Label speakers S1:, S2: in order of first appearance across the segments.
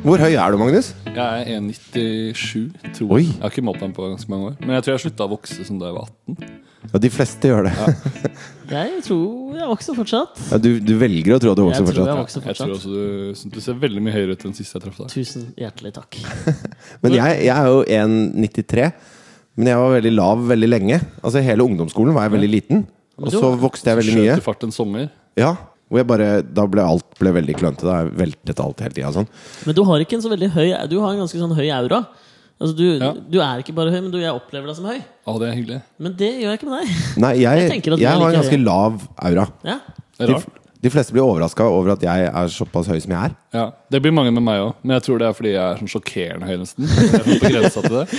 S1: Hvor høy er du, Magnus?
S2: Jeg er 1,97, tror
S1: Oi.
S2: jeg. Jeg har ikke målt meg på ganske mange år. Men jeg tror jeg slutta å vokse sånn da jeg var 18.
S1: Ja, de fleste gjør det.
S3: Jeg tror jeg vokser fortsatt.
S1: Ja, du, du velger å tro at du
S3: Jeg
S1: vokser
S3: tror jeg
S1: fortsatt.
S3: vokser
S2: Jeg tror
S3: fortsatt.
S2: også du, så du ser veldig mye høyere ut enn sist jeg traff deg.
S3: Tusen hjertelig takk.
S1: Men jeg, jeg er jo 1,93. Men jeg var veldig lav veldig lenge. Altså Hele ungdomsskolen var jeg veldig liten. Og så vokste jeg veldig mye.
S2: Skjøt i fart en sommer.
S1: Ja, hvor jeg bare, Da ble alt ble veldig klønete. Da jeg veltet alt hele tida. Sånn.
S3: Men du har ikke en så veldig høy Du har en ganske sånn høy aura. Altså du,
S2: Ja.
S3: du er ikke bare høy, men du, jeg opplever deg som høy.
S2: Å, det er hyggelig.
S3: Men det gjør jeg ikke med deg.
S1: Nei, jeg,
S3: Jeg tenker at
S1: jeg,
S3: vi
S1: har
S3: er
S1: en
S3: like
S1: ganske
S3: høye.
S1: lav aura.
S3: Ja.
S2: Det er
S1: De,
S2: rart.
S1: de fleste blir overraska over at jeg er såpass høy som jeg er.
S2: Ja, Det blir mange med meg òg, men jeg tror det er fordi jeg er sånn sjokkerende høy, nesten. Jeg er sånn på grensa til det.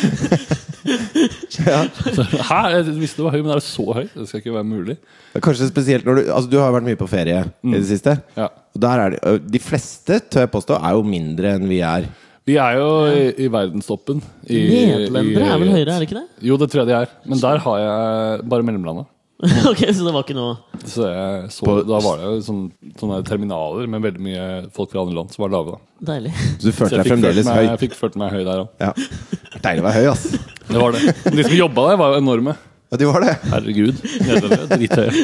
S2: Så, Hæ? Jeg visste du var høy, men er du så høy? Det skal ikke være mulig.
S1: Det er Kanskje spesielt når Du altså du har vært mye på ferie
S3: Mm.
S1: i det siste.
S2: Ja.
S1: Og der er de, ø, de fleste, tør jeg påstå, er jo mindre enn vi er.
S2: Vi er jo i, i verdenstoppen. I,
S3: Nederlendere
S2: i-
S3: er vel høyere, er det ikke det?
S2: Jo, det tror jeg de er. Men der har jeg bare mellomlanda.
S3: ok, Så det var ikke noe
S2: Så jeg så,
S1: På-
S2: da var det jo sånn, sånne terminaler med veldig mye folk fra andre land som var lave. da
S3: deilig.
S1: Så du
S2: Så
S1: følte
S2: jeg
S1: deg
S2: fikk, følt
S1: fremdeles
S2: meg,
S1: høy.
S2: jeg fikk følt meg høy der òg.
S1: Ja. Deilig å være høy, ass.
S2: Det var det. Men de som jobba der, var jo enorme.
S1: Ja, du var det.
S2: Herregud. Nederlendere. Drithøye.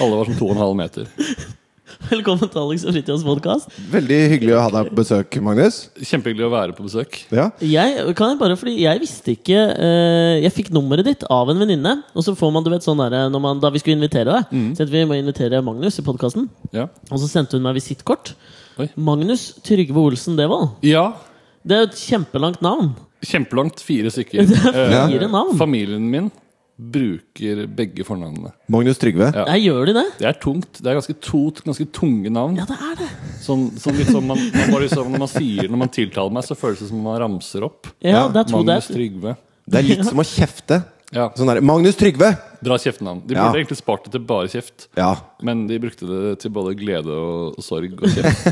S2: Alle var sånn to og en halv meter.
S3: Velkommen til Alex og Fritjofs podkast.
S1: Veldig hyggelig å ha deg på besøk, Magnus.
S2: Kjempehyggelig å være på besøk.
S1: Ja.
S3: Jeg kan jeg bare, fordi jeg visste ikke eh, Jeg fikk nummeret ditt av en venninne. Og så får man, du vet, sånn der, når man, Da vi skulle invitere deg,
S2: Mm.
S3: så at vi må invitere Magnus i podkasten.
S2: Ja.
S3: Og så sendte hun meg visittkort.
S2: Oi.
S3: Magnus Trygve Olsen Devold.
S2: ja.
S3: Det er jo et kjempelangt navn.
S2: Kjempelangt. Fire stykker.
S3: er
S2: Eh,
S3: fire navn.
S2: Familien min bruker begge fornavnene.
S1: Magnus Trygve.
S2: Ja.
S3: Jeg gjør de det?
S2: Det er tungt. Det er ganske, to, ganske tunge navn.
S3: Ja, det er det.
S2: Sånn, sånn litt som man, man bare liksom, Når man sier når man tiltaler meg, så føles det som om man ramser opp.
S3: Ja,
S1: Ja,
S3: det er to
S2: Magnus
S3: der.
S2: Trygve.
S1: Det er litt som å kjefte.
S2: Ja,
S1: Sånn der, Magnus Trygve!
S2: Bra kjeftenavn. De
S1: Ja.
S2: burde egentlig spart det til bare kjeft,
S1: Ja.
S2: men de brukte det til både glede og sorg og kjeft.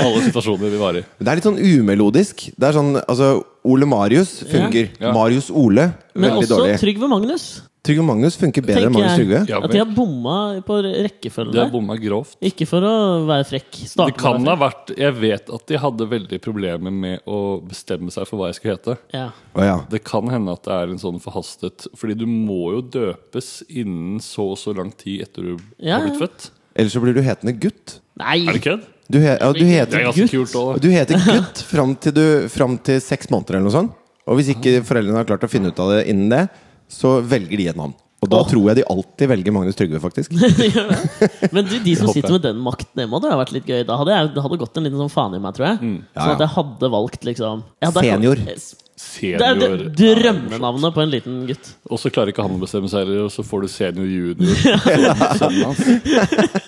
S2: Alle situasjoner vi var i.
S1: Men Det er litt sånn umelodisk. Det er sånn, altså, Ole Marius funker.
S2: Ja.
S1: Marius Ole,
S3: Men
S1: veldig
S3: også
S1: dårlig.
S3: Trygve Magnus.
S1: Trygve Magnus funker bedre enn
S3: Tenker
S1: Magnus Trygve.
S3: jeg
S2: Ja,
S3: At de
S2: vel.
S3: har bomma på rekkefølgen
S2: De har
S3: der.
S2: bomma grovt.
S3: Ikke for å være frekk.
S2: Det
S3: Starte
S2: kan
S3: med
S2: ha
S3: å være
S2: vært Jeg vet at de hadde veldig problemer med å bestemme seg for hva jeg skulle hete.
S3: frekk. Ja.
S1: Å, ja.
S2: Det kan hende at det er en sånn forhastet Fordi du må jo døpes innen så og så lang tid etter du
S3: Ja,
S2: har blitt
S3: ja.
S2: født.
S1: Ellers så blir du hetende gutt.
S3: Nei!
S2: Er det kødd?
S1: Du, he ja, du,
S2: Det er
S1: heter,
S2: ganske
S3: Gutt.
S2: kult òg, da.
S1: du heter gutt fram til, du, fram til seks måneder eller noe sånt. Og hvis ikke foreldrene har klart å finne ut av det innen det, så velger de et navn. Og da
S3: Åh.
S1: tror jeg de alltid velger Magnus Trygve, faktisk.
S3: Gjør det. Men de, de som
S2: håper
S3: sitter
S2: jeg.
S3: med den makten hjemme, det hadde vært litt gøy. Da hadde jeg det hadde gått en liten sånn faen i meg, tror jeg.
S2: Mm.
S1: Ja,
S3: Sånn at
S1: ja.
S3: jeg hadde valgt liksom ja, der kan-
S1: Senior.
S3: Det er
S2: Senior.
S3: det drømmenavnet på en liten gutt.
S2: Og så klarer ikke han å bestemme seg heller, og så får du senior junior. Så- Sønnen hans.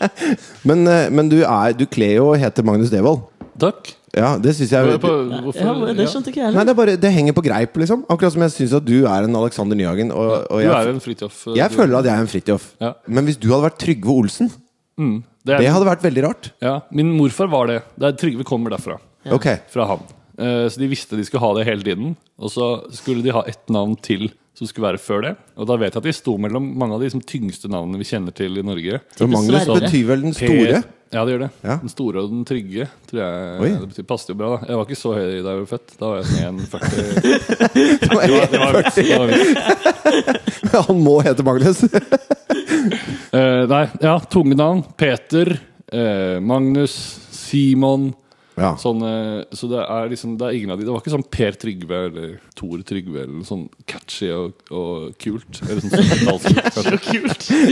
S1: Men, eh, men du, er, du kler jo og heter Magnus Devold.
S2: Takk.
S1: Ja, det syns jeg
S2: Hva er det på-
S3: Ja,
S2: Hvorfor
S3: det
S2: ja.
S3: skjønte ikke
S1: Nei,
S3: jeg heller.
S1: det, er bare, det henger på greip, liksom. Akkurat som jeg syns at du er en Alexander Nyhagen. Og, og
S2: Du er
S1: jeg,
S2: jo en Fridtjof. eh,
S1: jeg
S2: du-
S1: føler at jeg er en Fridtjof.
S2: Ja.
S1: Men hvis du hadde vært Trygve Olsen,
S2: Mm, det er,
S1: det hadde vært veldig rart.
S2: ja, Min morfar var det. det er, Trygve kommer derfra.
S1: Ok,
S2: Fra han. Eh, så de visste de skulle ha det hele tiden. Og så skulle de ha ett navn til som skulle være før det. Og da vet jeg at de sto mellom mange av de liksom, tyngste navnene vi kjenner til i Norge.
S1: og Magnus
S3: Sverre.
S1: betyr vel den
S2: P-
S1: store?
S2: Ja, det gjør det.
S1: Ja.
S2: Den store og den trygge. Tror jeg
S1: Oi.
S2: Det betyr, passer jo bra, da. Jeg var ikke så høy da jeg ble født. Da var jeg sånn 1,40. Det var- det var vits, det var vits.
S1: Han må hete Magnus.
S2: Eh, nei, ja, tunge navn. Peter, eh, Magnus, Simon
S3: Ah.
S1: Ja.
S2: sånne, Så det er liksom Det er ingen av de Det var ikke sånn Per Trygve eller Tor Trygve eller noe sånn catchy og, og kult. Eller sånn 70-tallskult, kanskje.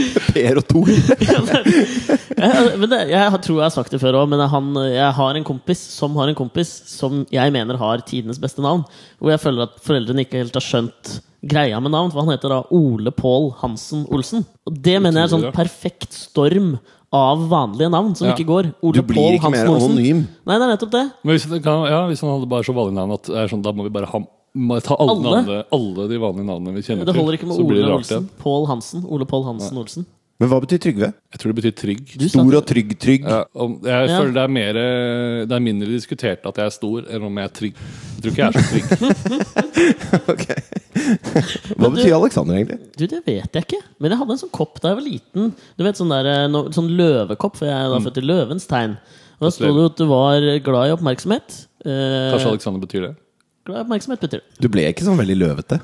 S3: Kult.
S1: Per og Tor.
S3: Jeg, men det, jeg har- tror jeg har sagt det før òg, men han, jeg har en kompis som har en kompis som jeg mener har tidenes beste navn. Hvor jeg føler at foreldrene ikke helt har skjønt greia med navn. For han heter da Ole Pål Hansen Olsen. Og det mener jeg er sånn
S2: Utrolig,
S3: perfekt storm av vanlige navn som
S2: Ja.
S3: ikke går. Ole
S1: Du blir
S3: Pål
S1: ikke
S3: Hansen
S1: mer
S3: Olsen.
S1: anonym.
S3: Nei, det er nettopp det.
S2: Men hvis, det kan, ja, hvis han hadde bare så vanlig navn at det er sånn, da må vi bare ha må ta alle,
S3: Alle?
S2: Navnene, alle de vanlige navnene vi kjenner
S3: Det
S2: til.
S3: holder ikke med
S2: så blir det
S3: Ole
S2: rart
S3: Olsen.
S2: igjen.
S3: Pål Hansen. Ole Pål Hansen Olsen.
S1: Men hva betyr Trygve?
S2: Jeg tror det betyr trygg.
S3: Du sa
S1: Stor og trygg trygg.
S2: Ja, om, jeg
S3: Ja.
S2: føler det er, mer, eh, det er mindre diskutert at jeg er stor, enn om jeg er trygg. Jeg tror ikke jeg er så trygg.
S1: Ok. Hva betyr Alexander, egentlig?
S3: Du, det vet jeg ikke. Men jeg hadde en sånn kopp da jeg var liten. Du vet, Sånn, der, eh, no,
S1: Mm.
S3: sånn løvekopp, for jeg er da født i løvens tegn. Og Da sto det jo at du var glad i oppmerksomhet. Eh,
S2: Kanskje Alexander betyr det?
S3: glad i oppmerksomhet betyr det.
S1: Du ble ikke sånn veldig løvete.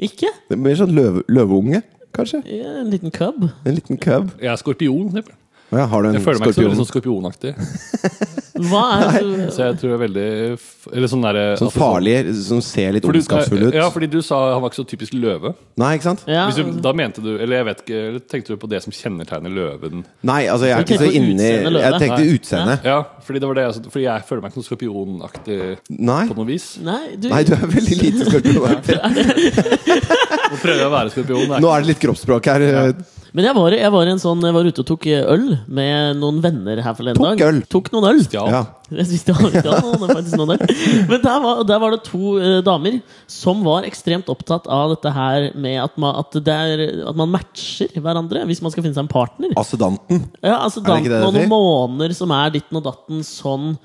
S3: Ikke?
S1: Det blir sånn løve, løveunge, kanskje.
S3: Eh, En liten cub.
S1: En liten cub.
S2: Jeg er skorpion. Jeg,
S1: Ja, har du en
S2: jeg føler meg ikke så
S1: skorpion?
S2: veldig sånn skorpionaktig.
S3: Hva er det du
S2: Så jeg tror jeg er veldig f- Eller sånn derre
S1: Sånn farlig, som ser litt
S2: For du-
S1: ondskapsfull ut.
S2: Ja, fordi du sa han var ikke så typisk løve.
S1: Nei, ikke sant?
S3: ja,
S2: Hvis du, da mente du Eller jeg vet ikke eller tenkte du på det som kjennetegner løven?
S1: Nei, altså jeg er
S3: Du
S1: ikke så
S3: tenker på
S1: inni
S3: utseende løve?
S1: Jeg tenkte
S2: Nei.
S1: utseende.
S2: Ja, fordi det var det jeg også- Fordi jeg føler meg ikke noe skorpionaktig
S1: Nei.
S2: på noe vis.
S3: Nei, du,
S1: Nei, du er veldig lite skorpion.
S2: Nå prøver jeg å være skorpion.
S1: Nå er det litt kroppsspråk her.
S3: Men jeg var, jeg var i en sånn Jeg var ute og tok eh, øl med noen venner her forleden
S1: Tok
S3: dag.
S1: øl?
S3: Tok noen øl.
S2: Ja.
S1: Ja.
S3: Jeg synes det var litt annet, det er faktisk noen der. Men der var, der var det to eh, damer som var ekstremt opptatt av dette her med at man, at det er, at man matcher hverandre hvis man skal finne seg en partner.
S1: Assedanten.
S3: Ja, altså
S1: det ikke
S3: Danten
S1: det det
S3: og noen
S1: heter?
S3: måneder som er ditten og datten sånn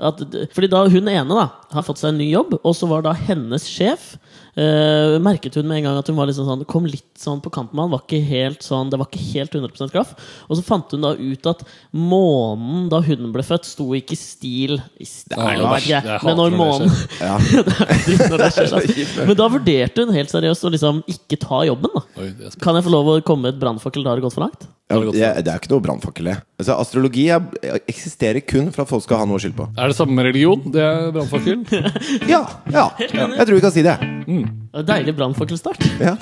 S3: at, Fordi da hun ene da har fått seg en ny jobb, og så var da hennes sjef eh, Merket hun med en gang at hun var liksom sånn, kom litt sånn på kanten med han. Var ikke helt sånn, det var ikke helt 100 graff. Og så fant hun da ut at månen da hun ble født, sto ikke i stil, i stil
S2: er noe
S3: vet
S2: verst.
S3: ikke
S2: Jeg
S3: jeg,
S2: hater
S3: Men
S2: når det
S3: når månen
S1: Ja.
S3: dritt når det skjer, altså. Men da vurderte hun helt seriøst å liksom ikke ta jobben. da
S2: Oi, det er sp-
S3: Kan jeg få lov å komme med et brannfakkel? Da har det gått for langt?
S1: Ja, jeg- det er ikke noe brannfakkel, det. Altså, astrologi er, eksisterer kun for at folk skal ha noe å skylde på.
S2: er det samme med religion? Det er brannfakkel?
S1: Ja! ja Jeg tror vi kan si det.
S3: Det var Deilig brannfakkelstart.
S1: Ja.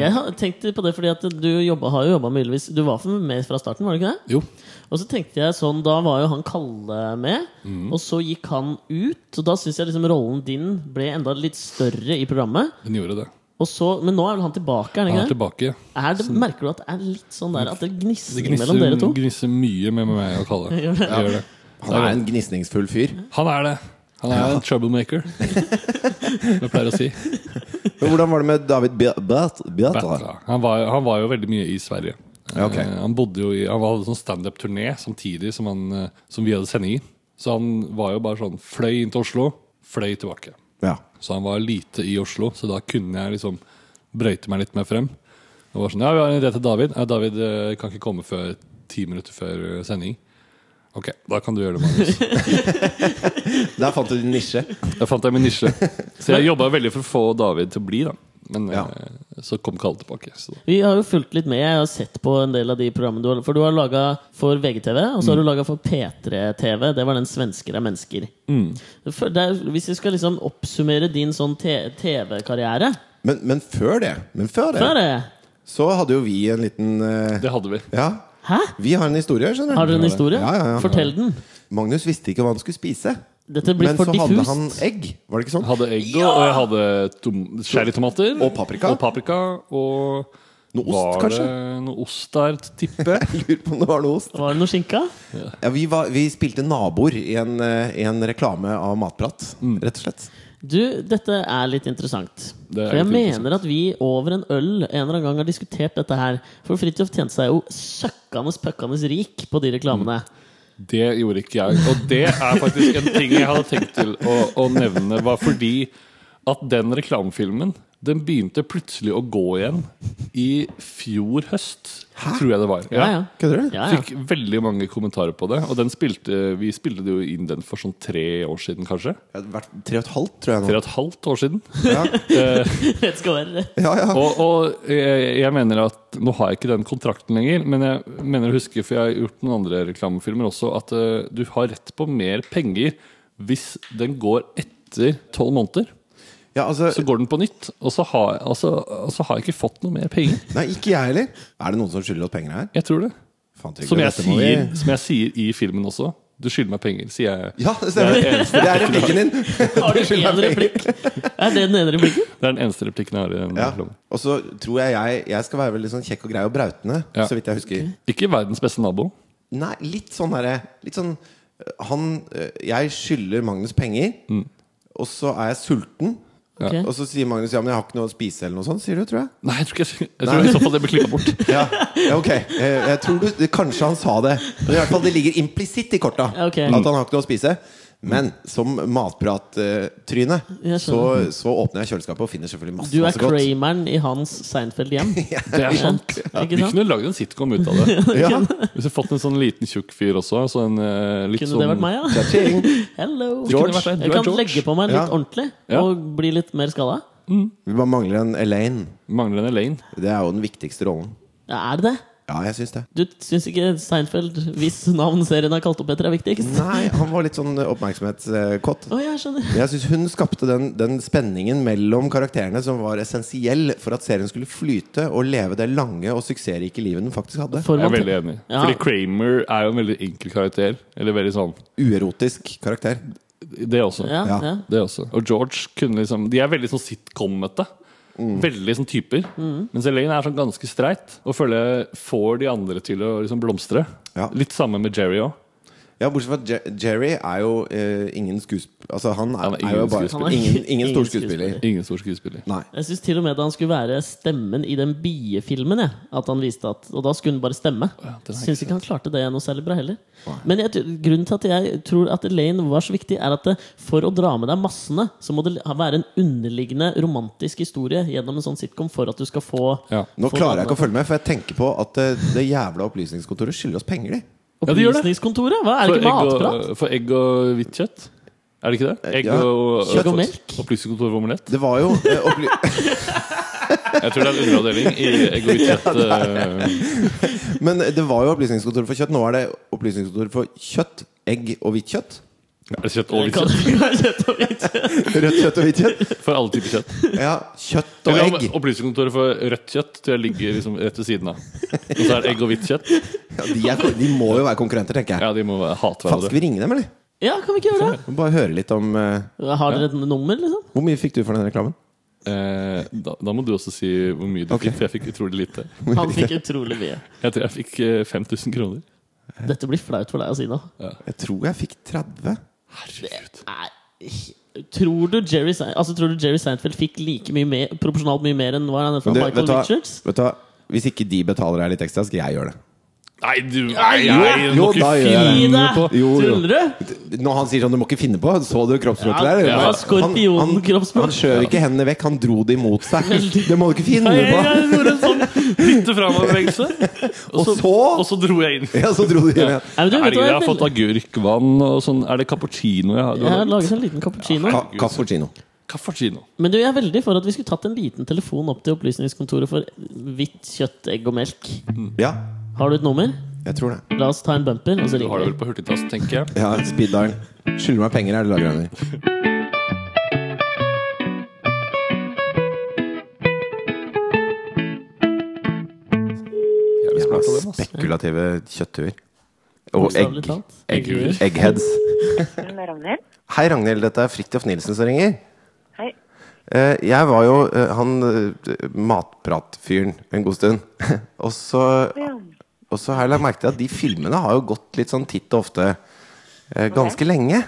S3: Jeg har tenkt på det fordi at du jobba, har jo jobba med Ylvis. Du var for med fra starten, var du ikke det?
S2: Jo.
S3: Og så tenkte jeg sånn, da var jo han Kalle med, og så gikk han ut. Og da syns jeg liksom rollen din ble enda litt større i programmet.
S2: Den gjorde det.
S3: Og så, men nå er vel han tilbake, er han
S2: Han er
S3: ikke det?
S2: tilbake.
S3: Er det, merker du at det er litt sånn der at det
S2: Det
S3: gnisser mellom dere
S2: gnisser,
S3: to?
S2: gnisser mye med meg og Kalle.
S3: Gjør det?
S2: Det gjør det.
S1: Han er en gnisningsfull fyr.
S2: Han er det. Han er en troublemaker, som jeg pleier å si.
S1: Men hvordan var det med David Beat- Beat- Beatra?
S2: Batra. Han var, han var jo veldig mye i Sverige.
S1: Ja, ok.
S2: Eh, Han bodde jo i Han hadde sånn standup-turné samtidig som, han, eh, som vi hadde sending i. Så han var jo bare sånn fløy inn til Oslo, fløy tilbake.
S1: Ja.
S2: Så han var lite i Oslo, så da kunne jeg liksom brøyte meg litt mer frem. Og var sånn, ja, vi har en idé til David. Ja, David eh, kan ikke komme før ti minutter før eh, sending. Ok, da kan du gjøre det, Magnus.
S1: Der fant du din nisje.
S2: Da fant jeg min nisje. Så jeg jobba veldig for å få David til å bli, da. Men eh,
S1: Ja.
S2: så kom Kalle tilbake. Så.
S3: Vi har jo fulgt litt med. Jeg har sett på en del av de programmene du har For du har laga for VGTV, og så har du
S2: Mm.
S3: laga for P3TV. Det var den 'Svensker er mennesker'.
S2: Mm.
S3: For der, hvis vi skal liksom oppsummere din sånn te- TV-karriere
S1: Men, men før det, men før
S3: Hva er
S1: det,
S3: det?
S1: så hadde jo vi en liten eh,
S2: Det hadde vi.
S1: Ja.
S3: Hæ?
S1: Vi har en historie, skjønner
S3: Har dere en historie?
S1: Ja, ja, ja.
S3: Fortell den.
S1: Magnus visste ikke hva han skulle spise.
S3: Dette blir
S1: Men så
S3: for
S1: hadde han
S3: diffust.
S1: egg. Var det ikke sånn?
S2: hadde egg, og- og jeg hadde tom, cherrytomater.
S1: Og paprika.
S2: Og paprika, og
S1: Noe
S2: var
S1: ost,
S2: det
S1: kanskje?
S2: noe ost der, tipper jeg.
S1: Jeg lurer på om det var noe ost.
S3: Var det noe skinka?
S1: Ja, vi, var, vi spilte naboer i en, eh, i en reklame av Matprat, rett og slett.
S3: Du, dette er litt interessant.
S2: Det er
S3: For jeg
S2: litt interessant.
S3: mener at vi over en øl en eller annen gang har diskutert dette her. For Fridtjof tjente seg jo søkkende pøkkandes rik på de reklamene.
S2: Mm. Det gjorde ikke jeg. Og det er faktisk en ting jeg hadde tenkt til å, å nevne, var fordi at den reklamefilmen den begynte plutselig å gå igjen i fjor høst, tror jeg det var.
S3: Ja, ja.
S1: Kødder du?
S3: ja, ja.
S2: Fikk veldig mange kommentarer på det. Og den spilte, vi spilte det jo inn den for sånn tre år siden, kanskje?
S1: Det har vært tre og et halvt, tror jeg
S2: Tre
S1: nå.
S2: og et halvt år siden.
S1: Ja,
S3: Det skal være
S1: ja, ja.
S2: Og, og jeg, jeg mener at Nå har jeg ikke den kontrakten lenger, men jeg mener å huske, for jeg har gjort noen andre reklamefilmer også, at eh, du har rett på mer penger hvis den går etter tolv måneder.
S1: ja altså,
S2: Så går den på nytt, og så har, og så, og så har jeg ikke fått noe mer penger.
S1: Nei, ikke jeg heller. Er det noen som skylder oss penger her?
S2: Jeg tror det.
S1: Faen, Trygve,
S2: Som jeg,
S1: dette må vi-
S2: sier, som jeg sier i filmen også. Du skylder meg penger, sier jeg.
S1: Ja, det stemmer.
S2: Det er det
S1: Det er replikken din.
S3: Har du
S1: skylder meg
S3: én replikk? Er det den ene replikken?
S2: Det er den eneste replikken jeg har i den
S1: Ja.
S2: reklamen.
S1: Og så tror jeg, jeg jeg skal være veldig sånn kjekk og grei og brautende,
S2: Ja.
S1: så vidt jeg husker.
S2: Ikke verdens beste nabo.
S1: Nei, litt sånn derre Litt sånn øh, Han øh, Jeg skylder Magnus penger,
S2: Mm.
S1: og så er jeg sulten.
S3: Ok.
S1: Og så sier Magnus ja, men jeg har ikke noe å spise, eller noe sånt. Sier du, tror jeg.
S2: Nei, jeg tror ikke jeg, jeg
S1: Nei.
S2: tror i så fall det blir klippa bort.
S1: Ja, ja ok. Eh, Jeg tror du, det- Kanskje han sa det. Men i hvert fall det ligger implisitt i korta
S3: Ja, ok.
S1: at han har ikke noe å spise. Men som matprattryne
S3: Jeg skjønner.
S1: så, så åpner jeg kjøleskapet og finner selvfølgelig masse,
S3: Du er
S1: masse godt.
S3: Krameren i hans Seinfeld-hjem.
S2: Det er sant.
S3: Ja, ikke
S2: Vi
S3: sant?
S2: kunne lagd en sitcom ut av det.
S1: Ja.
S2: Hvis vi fått en sånn liten tjukk fyr også. Så en, eh, litt
S3: Kunne
S2: sånn,
S3: det vært meg, ja?
S1: Cha-ching.
S3: Hello!
S2: George. Du kunne vært deg. Du
S3: Jeg
S2: er
S3: kan
S2: George.
S3: legge på meg litt
S1: Ja.
S3: ordentlig
S2: Ja.
S3: og bli litt mer skada.
S1: Vi bare mangler en Elaine.
S2: Mangler en Elaine.
S1: Det er jo den viktigste rollen.
S3: Ja, er det det?
S1: Ja, jeg syns det.
S3: Du syns ikke Seinfeld, hvis navn serien er kalt opp etter, er viktigst?
S1: Nei, han var litt sånn oppmerksomhetskott.
S3: Å, jeg skjønner.
S1: Jeg synes Hun skapte den, den spenningen mellom karakterene som var essensiell for at serien skulle flyte og leve det lange og suksessrike livet den faktisk hadde.
S3: For
S2: Jeg er
S3: man-
S2: veldig enig.
S3: Ja.
S2: Fordi Kramer er jo en veldig enkel karakter. Eller veldig sånn
S1: Uerotisk karakter.
S2: Det også.
S3: Ja,
S1: Ja.
S3: ja.
S2: Det også. Og George kunne liksom De er veldig sånn sitcom-ete.
S1: Mm.
S2: Veldig sånn typer.
S3: Mm.
S2: Mens Elaine er sånn ganske streit og føler får de andre til å liksom blomstre.
S1: Ja.
S2: Litt samme med Jerry òg.
S1: Ja, Bortsett fra at Je- Jerry er jo eh, ingen skuespiller Altså, han er,
S2: Han er ingen
S1: er jo bare
S2: skuespiller.
S1: Ingen, ingen
S3: Ingen
S1: stor skuespiller.
S3: skuespiller.
S2: Ingen stor skuespiller.
S1: Nei.
S3: Jeg syns til og med da han skulle være stemmen i den biefilmen, jeg, at han viste at Og da skulle han bare stemme.
S2: den har jeg
S3: Syns ikke han klarte det noe særlig bra heller. Men jeg, tror- grunnen til at jeg tror at Elaine var så viktig, er at det, for å dra med deg massene, så må det ha- være en underliggende romantisk historie gjennom en sånn sitcom for at du skal få
S2: Ja.
S1: Nå
S3: få
S1: klarer jeg
S3: dra
S1: ikke å
S3: med-
S1: følge med, for jeg tenker på at det, det jævla opplysningskontoret skylder oss penger, de.
S2: Ja, det gjør det.
S3: Opplysningskontoret? Hva, er
S2: For eh,
S3: det ikke
S2: egg,
S3: matprat?
S2: og, for egg og hvitt kjøtt? Er det ikke det? Egg
S1: Eh, Ja.
S2: og,
S3: Kjøtt og melk?
S2: Opplysningskontor for omelett?
S1: Det var jo eh, opply-
S2: Jeg tror det er en underavdeling i egg og hvitt kjøtt. eh,
S1: Men det var jo opplysningskontoret for kjøtt. Nå er det opplysningskontoret for kjøtt, egg og hvitt kjøtt.
S2: Er det kjøtt og hvitt
S3: Kan
S2: kjøtt?
S3: det ikke være kjøtt og hvitt kjøtt?
S1: Rødt kjøtt og hvitt kjøtt.
S2: For alle typer kjøtt.
S1: Ja, kjøtt og
S2: Eller om
S1: egg.
S2: Opplysningskontoret for rødt kjøtt tror jeg ligger liksom rett ved siden av. Og så er det egg og hvitt kjøtt.
S1: Ja, de, er, ko- de må jo være konkurrenter, tenker jeg.
S2: Ja, de må være- hate
S1: Faen, skal
S2: hverandre.
S1: vi ringe dem, eller?
S3: Ja, kan vi ikke gjøre det?
S1: Må Bare høre litt om eh,
S3: Har dere et nummer, liksom?
S1: Hvor mye fikk du for den reklamen?
S2: Eh, da, da må du også si hvor mye du
S1: Ok.
S2: fikk. for Jeg fikk utrolig lite.
S3: Han fikk utrolig mye.
S2: Jeg tror jeg fikk eh, 5000 kroner.
S3: Dette blir flaut for deg å si nå.
S1: Jeg tror jeg fikk 30.
S2: Herregud.
S3: Nei Tror du Jerry, Sein- altså, tror du Jerry Seinfeld fikk like mye mer, proporsjonalt mye mer enn hva han er fra
S1: Du,
S3: Michael
S1: vet du hva?
S3: Richards?
S1: Vet du hva? Hvis ikke de betaler deg litt ekstra, skal jeg gjøre det.
S2: Nei, du nei,
S3: jo,
S2: nei, du
S1: jo,
S2: må ikke
S1: da gjør jeg det.
S3: Gi
S2: finne
S3: deg!
S2: på
S1: Jo, jo.
S3: Tuller du?
S1: Når han sier sånn 'du må ikke finne på', så du kroppsspråket
S3: Ja,
S1: der?
S3: ja,
S1: Men
S3: skorpionen
S1: han,
S3: kroppsspråk.
S1: han, han skjøv ikke hendene vekk, han dro det imot seg. Det må du ikke finne
S2: Nei, jeg,
S1: på!
S2: jeg gjorde en sånn bytte framoverbevegelse.
S1: Og så-
S2: Og så dro jeg inn.
S1: Ja, så dro de inn igjen.
S3: Nei, men du, vet
S2: Herregud,
S3: du hva,
S2: jeg har
S3: jeg,
S2: fått
S3: vil-
S2: agurkvann og sånn. Er det cappuccino jeg har?
S3: jeg har laget en liten cappuccino.
S1: Ka Cappuccino.
S2: Cappuccino.
S3: Men du, jeg er veldig for at vi skulle tatt en liten telefon opp til Opplysningskontoret for hvitt kjøtt, egg og melk.
S1: Ja,
S3: Har du et nummer?
S1: jeg tror det.
S3: La oss ta en bumper, og så
S2: Du har det
S3: ringer vi.
S2: vel på hurtigtass, tenker jeg.
S1: Ja, speeddalen. Skylder meg penger, er det lagra under.
S2: Jævlig smart av dem, ass.
S1: Spekulative kjøtthuer. Og
S3: Bokstavelig
S1: egg.
S3: talt.
S1: egg
S2: Egghuer.
S1: eggheads.
S4: Med Ragnhild?
S1: Hei, Ragnhild. Dette er Fridtjof Nilsen som ringer.
S4: Hei.
S1: Eh, Jeg var jo eh, han eh, matpratfyren en god stund. Og så,
S4: Ja.
S1: og så har jeg lagt merke til at de filmene har jo gått litt sånn titt og ofte eh, ganske lenge.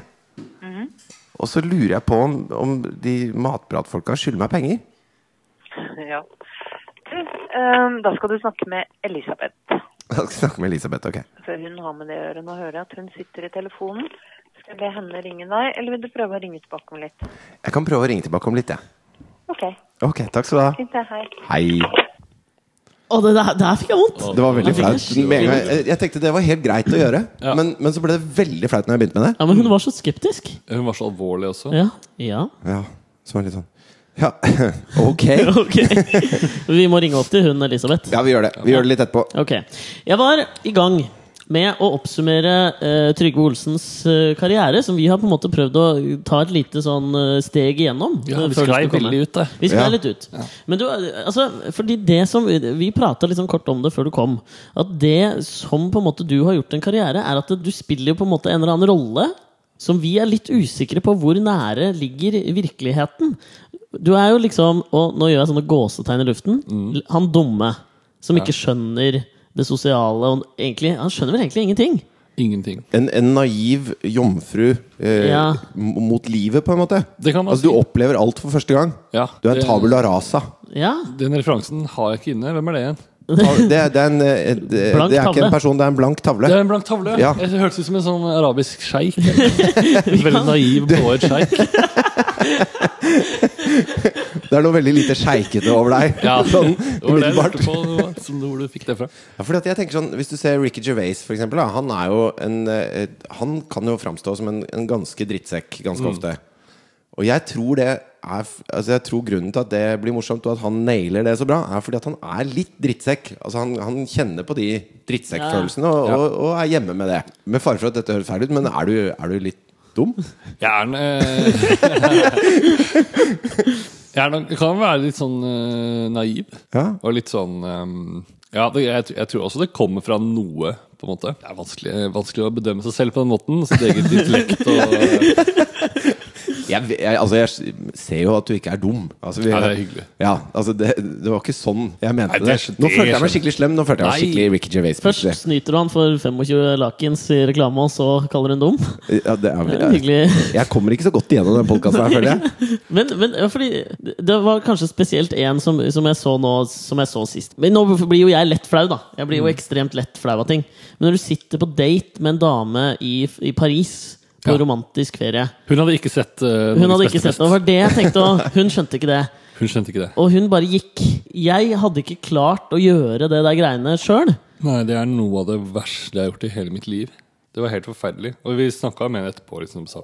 S1: Og så lurer jeg på om, om de matpratfolka skylder meg penger.
S4: ja. Du, ehm, da skal du snakke med Elisabeth.
S1: Jeg skal snakke med Elisabeth, ok.
S4: Før hun har med det å gjøre. Nå hører jeg at hun sitter i telefonen. Skal jeg be henne ringe deg, eller vil du prøve å ringe tilbake om litt?
S1: Jeg kan prøve å ringe tilbake om litt, jeg.
S4: OK.
S1: Ok, takk skal du ha.
S4: Fint, det. Hei.
S1: Hei.
S3: Å, det der, der fikk jeg vondt!
S1: Det var veldig
S3: Jeg fikk
S1: flaut.
S3: en
S1: Med en gang- Jeg, jeg tenkte det var helt greit å gjøre,
S2: Ja.
S1: men, men så ble det veldig flaut når jeg begynte med det.
S3: Ja, Men hun var så skeptisk.
S2: Hun var så alvorlig også.
S3: Ja. ja.
S1: Ja, så var det litt sånn Ja, ok.
S3: Ok. Vi må ringe opp til hun Elisabeth.
S1: Ja, vi gjør det. Vi gjør det litt etterpå.
S3: Ok. Jeg var i gang med å oppsummere eh, Trygve Olsens eh, karriere, som vi har på en måte prøvd å ta et lite sånn eh, steg igjennom. eh, før den skulle komme.
S2: ut der.
S3: Vi sklei
S1: Ja.
S3: litt ut. Men du, altså, fordi det som Vi prata liksom kort om det før du kom. At det som på en måte du har gjort en karriere, er at du spiller jo på en måte en eller annen rolle som vi er litt usikre på hvor nære ligger virkeligheten. Du er jo liksom Og nå gjør jeg sånne gåsetegn i luften.
S1: Mm.
S3: Han dumme som ikke skjønner det sosiale. Og egentlig, han skjønner vel egentlig ingenting.
S2: Ingenting.
S1: En, en naiv jomfru eh,
S3: Ja.
S1: m- mot livet, på en måte.
S2: Det kan man
S1: altså, du
S2: si.
S1: opplever alt for første gang.
S2: Ja,
S1: Du er en
S2: det-
S1: tabula rasa.
S3: Ja,
S2: Den referansen har jeg ikke inne. Hvem er det igjen?
S1: Ta- Det, er- det, er, en, eh, det,
S3: Blank
S1: det er ikke
S3: tavle.
S1: en person, det er en blank tavle.
S2: Det er en blank tavle.
S1: Ja.
S2: Jeg hørtes ut som en sånn arabisk sjeik. En veldig naiv, blåøyd sjeik.
S1: Det er noe veldig lite sjeikete over deg.
S2: Ja, det
S1: sånn
S2: var det jeg
S1: umiddelbart.
S2: lurte på hva- som du- hvor du fikk det fra.
S1: Ja, fordi at jeg tenker sånn, Hvis du ser Ricky Gervais, for eksempel, da, han, er jo en, eh, han kan jo framstå som en, en ganske drittsekk ganske
S2: Mm.
S1: ofte. Og jeg tror det er f- Altså jeg tror grunnen til at det blir morsomt, og at han nailer det så bra, er fordi at han er litt drittsekk. Altså Han, han kjenner på de drittsekkfølelsene og,
S2: Ja.
S1: og, og er hjemme med det. Med fare for at dette høres feil ut, men er du, er du litt dum?
S2: Jeg er en, eh, Jeg er nok, jeg kan være litt sånn eh, naiv.
S1: Ja.
S2: Og litt sånn ehm, Ja, det, jeg, tr- jeg tror også det kommer fra noe, på en måte. Det er vanskelig, eh, vanskelig å bedømme seg selv på den måten. Sitt eget intellekt og
S1: Jeg, ve- jeg, altså jeg ser jo at du ikke er dum. Altså vi-
S2: Ja, det er hyggelig.
S1: Ja, altså det, det var ikke sånn jeg mente
S2: Nei,
S1: det.
S2: det skjønner-
S1: Nå
S2: det
S1: følte jeg meg
S2: skjønner.
S1: skikkelig slem. Nå følte jeg meg
S2: Nei.
S1: skikkelig Ricky Gervais.
S3: Først snyter du han for 25 lakens i reklame, og så kaller hun dum.
S1: Ja, det er,
S3: Det er hyggelig.
S1: jeg kommer ikke så godt igjennom den podkasten her, føler jeg.
S3: Men, men ja, fordi det- det var kanskje spesielt én som, som jeg så nå Som jeg så sist. Men nå blir jo jeg lett flau, da. Jeg blir jo ekstremt lett flau av ting. Men når du sitter på date med en dame i, i Paris på
S2: Ja.
S3: romantisk ferie
S2: Hun hadde ikke sett eh,
S3: Hun hadde
S2: Norges
S3: ikke
S2: beste
S3: sett det. Det var det jeg tenkte, og hun skjønte ikke det.
S2: fest. Hun skjønte ikke det.
S3: Og hun bare gikk. Jeg hadde ikke klart å gjøre det der greiene sjøl.
S2: Nei, det er noe av det verste jeg har gjort i hele mitt liv. Det var helt forferdelig. Og vi snakka med henne etterpå liksom sa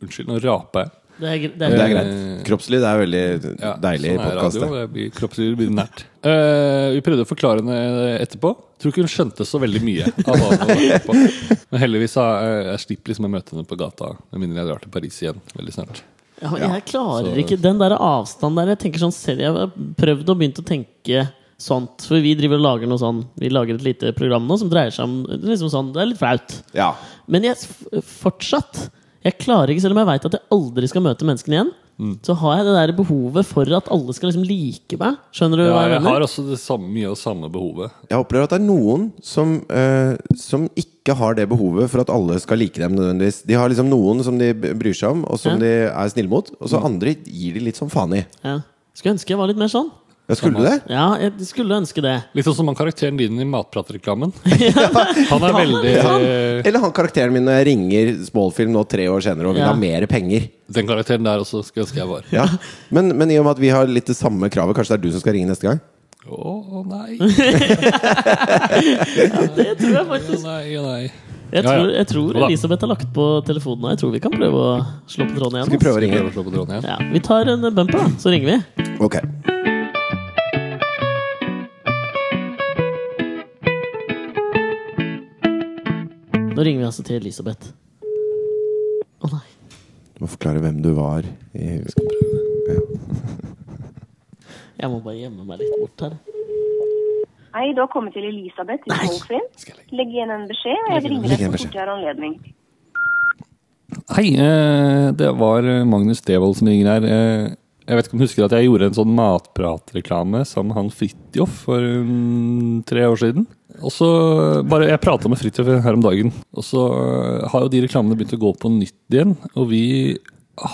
S2: Unnskyld, nå rapa jeg.
S3: Det er, gre-
S1: Det
S3: det
S1: er
S3: er,
S1: greit. Kroppslig det er veldig
S2: Eh, Ja,
S1: deilig
S2: sånn er
S1: podkast.
S2: radio, det blir kroppslig blir nært. Eh, vi prøvde å forklare henne eh, etterpå. Tror ikke hun skjønte så veldig mye. av hva hun var på. Men heldigvis har eh, jeg slipper liksom å møte henne på gata, med mindre jeg drar til Paris igjen veldig snart.
S3: ja, men jeg klarer
S2: så-
S3: ikke den der avstanden der. Jeg tenker sånn selv, jeg har prøvd og begynt å tenke sånt. For vi driver og lager noe sånn Vi lager et lite program nå som dreier seg om liksom sånn, Det er litt flaut.
S1: Ja.
S3: Men jeg f- fortsatt Jeg klarer ikke, selv om jeg veit at jeg aldri skal møte menneskene igjen.
S2: Mm.
S3: Så har jeg det der behovet for at alle skal liksom like meg. Skjønner du
S2: Ja,
S3: hva jeg
S2: jeg
S3: mener?
S2: har også det samme, mye av det samme behovet.
S1: Jeg opplever at det er noen som, eh, som ikke har det behovet for at alle skal like dem nødvendigvis. De har liksom noen som de b- bryr seg om, og som
S3: Ja.
S1: de er snille mot. Og
S2: Mm.
S1: så andre gir de litt som faen i.
S3: Ja. Skulle ønske jeg var litt mer sånn.
S1: Ja, skulle du det?
S3: Ja, jeg skulle ønske det.
S2: Litt sånn som han karakteren din i Matpratreklamen. Han er veldig eh,
S1: Eller han karakteren min når jeg ringer Smålfilm nå tre år senere og vil
S3: Ja.
S1: ha mer penger.
S2: Den karakteren der også skulle ønske jeg var.
S1: Ja. Men, men i og med at vi har litt det samme kravet, kanskje det er du som skal ringe neste gang?
S2: Å nei, å
S3: Det tror jeg faktisk.
S2: nei, å nei.
S3: Jeg
S2: Ja, ja.
S3: tror, jeg tror
S2: Jo da.
S3: Elisabeth har lagt på telefonen. og Jeg tror vi kan prøve å slå på tråden igjen.
S1: Skal vi prøve å ringe?
S2: Prøver å slå på tråden igjen.
S3: Ja, vi tar en eh, bumper, da, så ringer vi.
S1: Ok.
S3: Nå ringer vi altså til Elisabeth. Å nei.
S1: Du må forklare hvem du var i
S3: Jeg må bare gjemme meg litt bort her.
S5: Hei, du har kommet til Elisabeth i
S3: Nei.
S5: Holflin.
S2: Skal jeg legge-
S5: Legg igjen en beskjed, og jeg ringer
S1: Legg
S5: deg
S1: igjen
S5: så
S1: beskjed.
S5: fort jeg har anledning.
S2: Hei, eh, det var eh, Magnus Devold som ringer her. Eh, Jeg vet ikke om du husker at jeg gjorde en sånn matpratreklame sammen med han Fridtjof for mm, tre år siden. Og så eh, bare, Jeg prata med Fridtjof her om dagen, og så eh, har jo de reklamene begynt å gå på nytt igjen. Og vi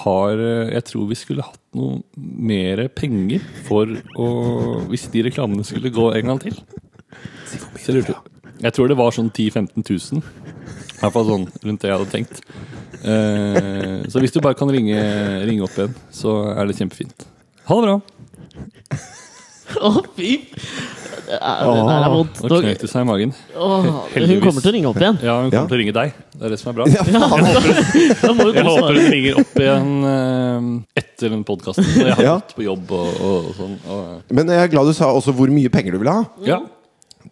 S2: har eh, Jeg tror vi skulle hatt noe mer penger for å Hvis de reklamene skulle gå en gang til. Så jeg lurte Jeg tror det var sånn 10 000-15 000. I hvert fall sånn rundt det jeg hadde tenkt. Eh, så hvis du bare kan ringe, ringe opp igjen, så er det kjempefint. Ha det bra!
S3: Å, fy! Det er, det der er vondt.
S2: Nå
S3: Nå,
S2: knøt det seg i magen.
S3: Åh, hun
S2: Heldigvis.
S3: kommer til å ringe opp igjen.
S2: Ja, hun kommer
S1: Ja.
S2: til å ringe deg. Det er det som er bra.
S1: Ja, faen.
S3: Da må
S2: Jeg
S3: jo du
S2: håper
S3: svare.
S2: hun ringer opp igjen eh, etter den podkasten. Jeg har
S1: Ja.
S2: gått på jobb og, og, og sånn. Og,
S1: Men jeg er glad du sa også hvor mye penger du ville ha.
S2: ja,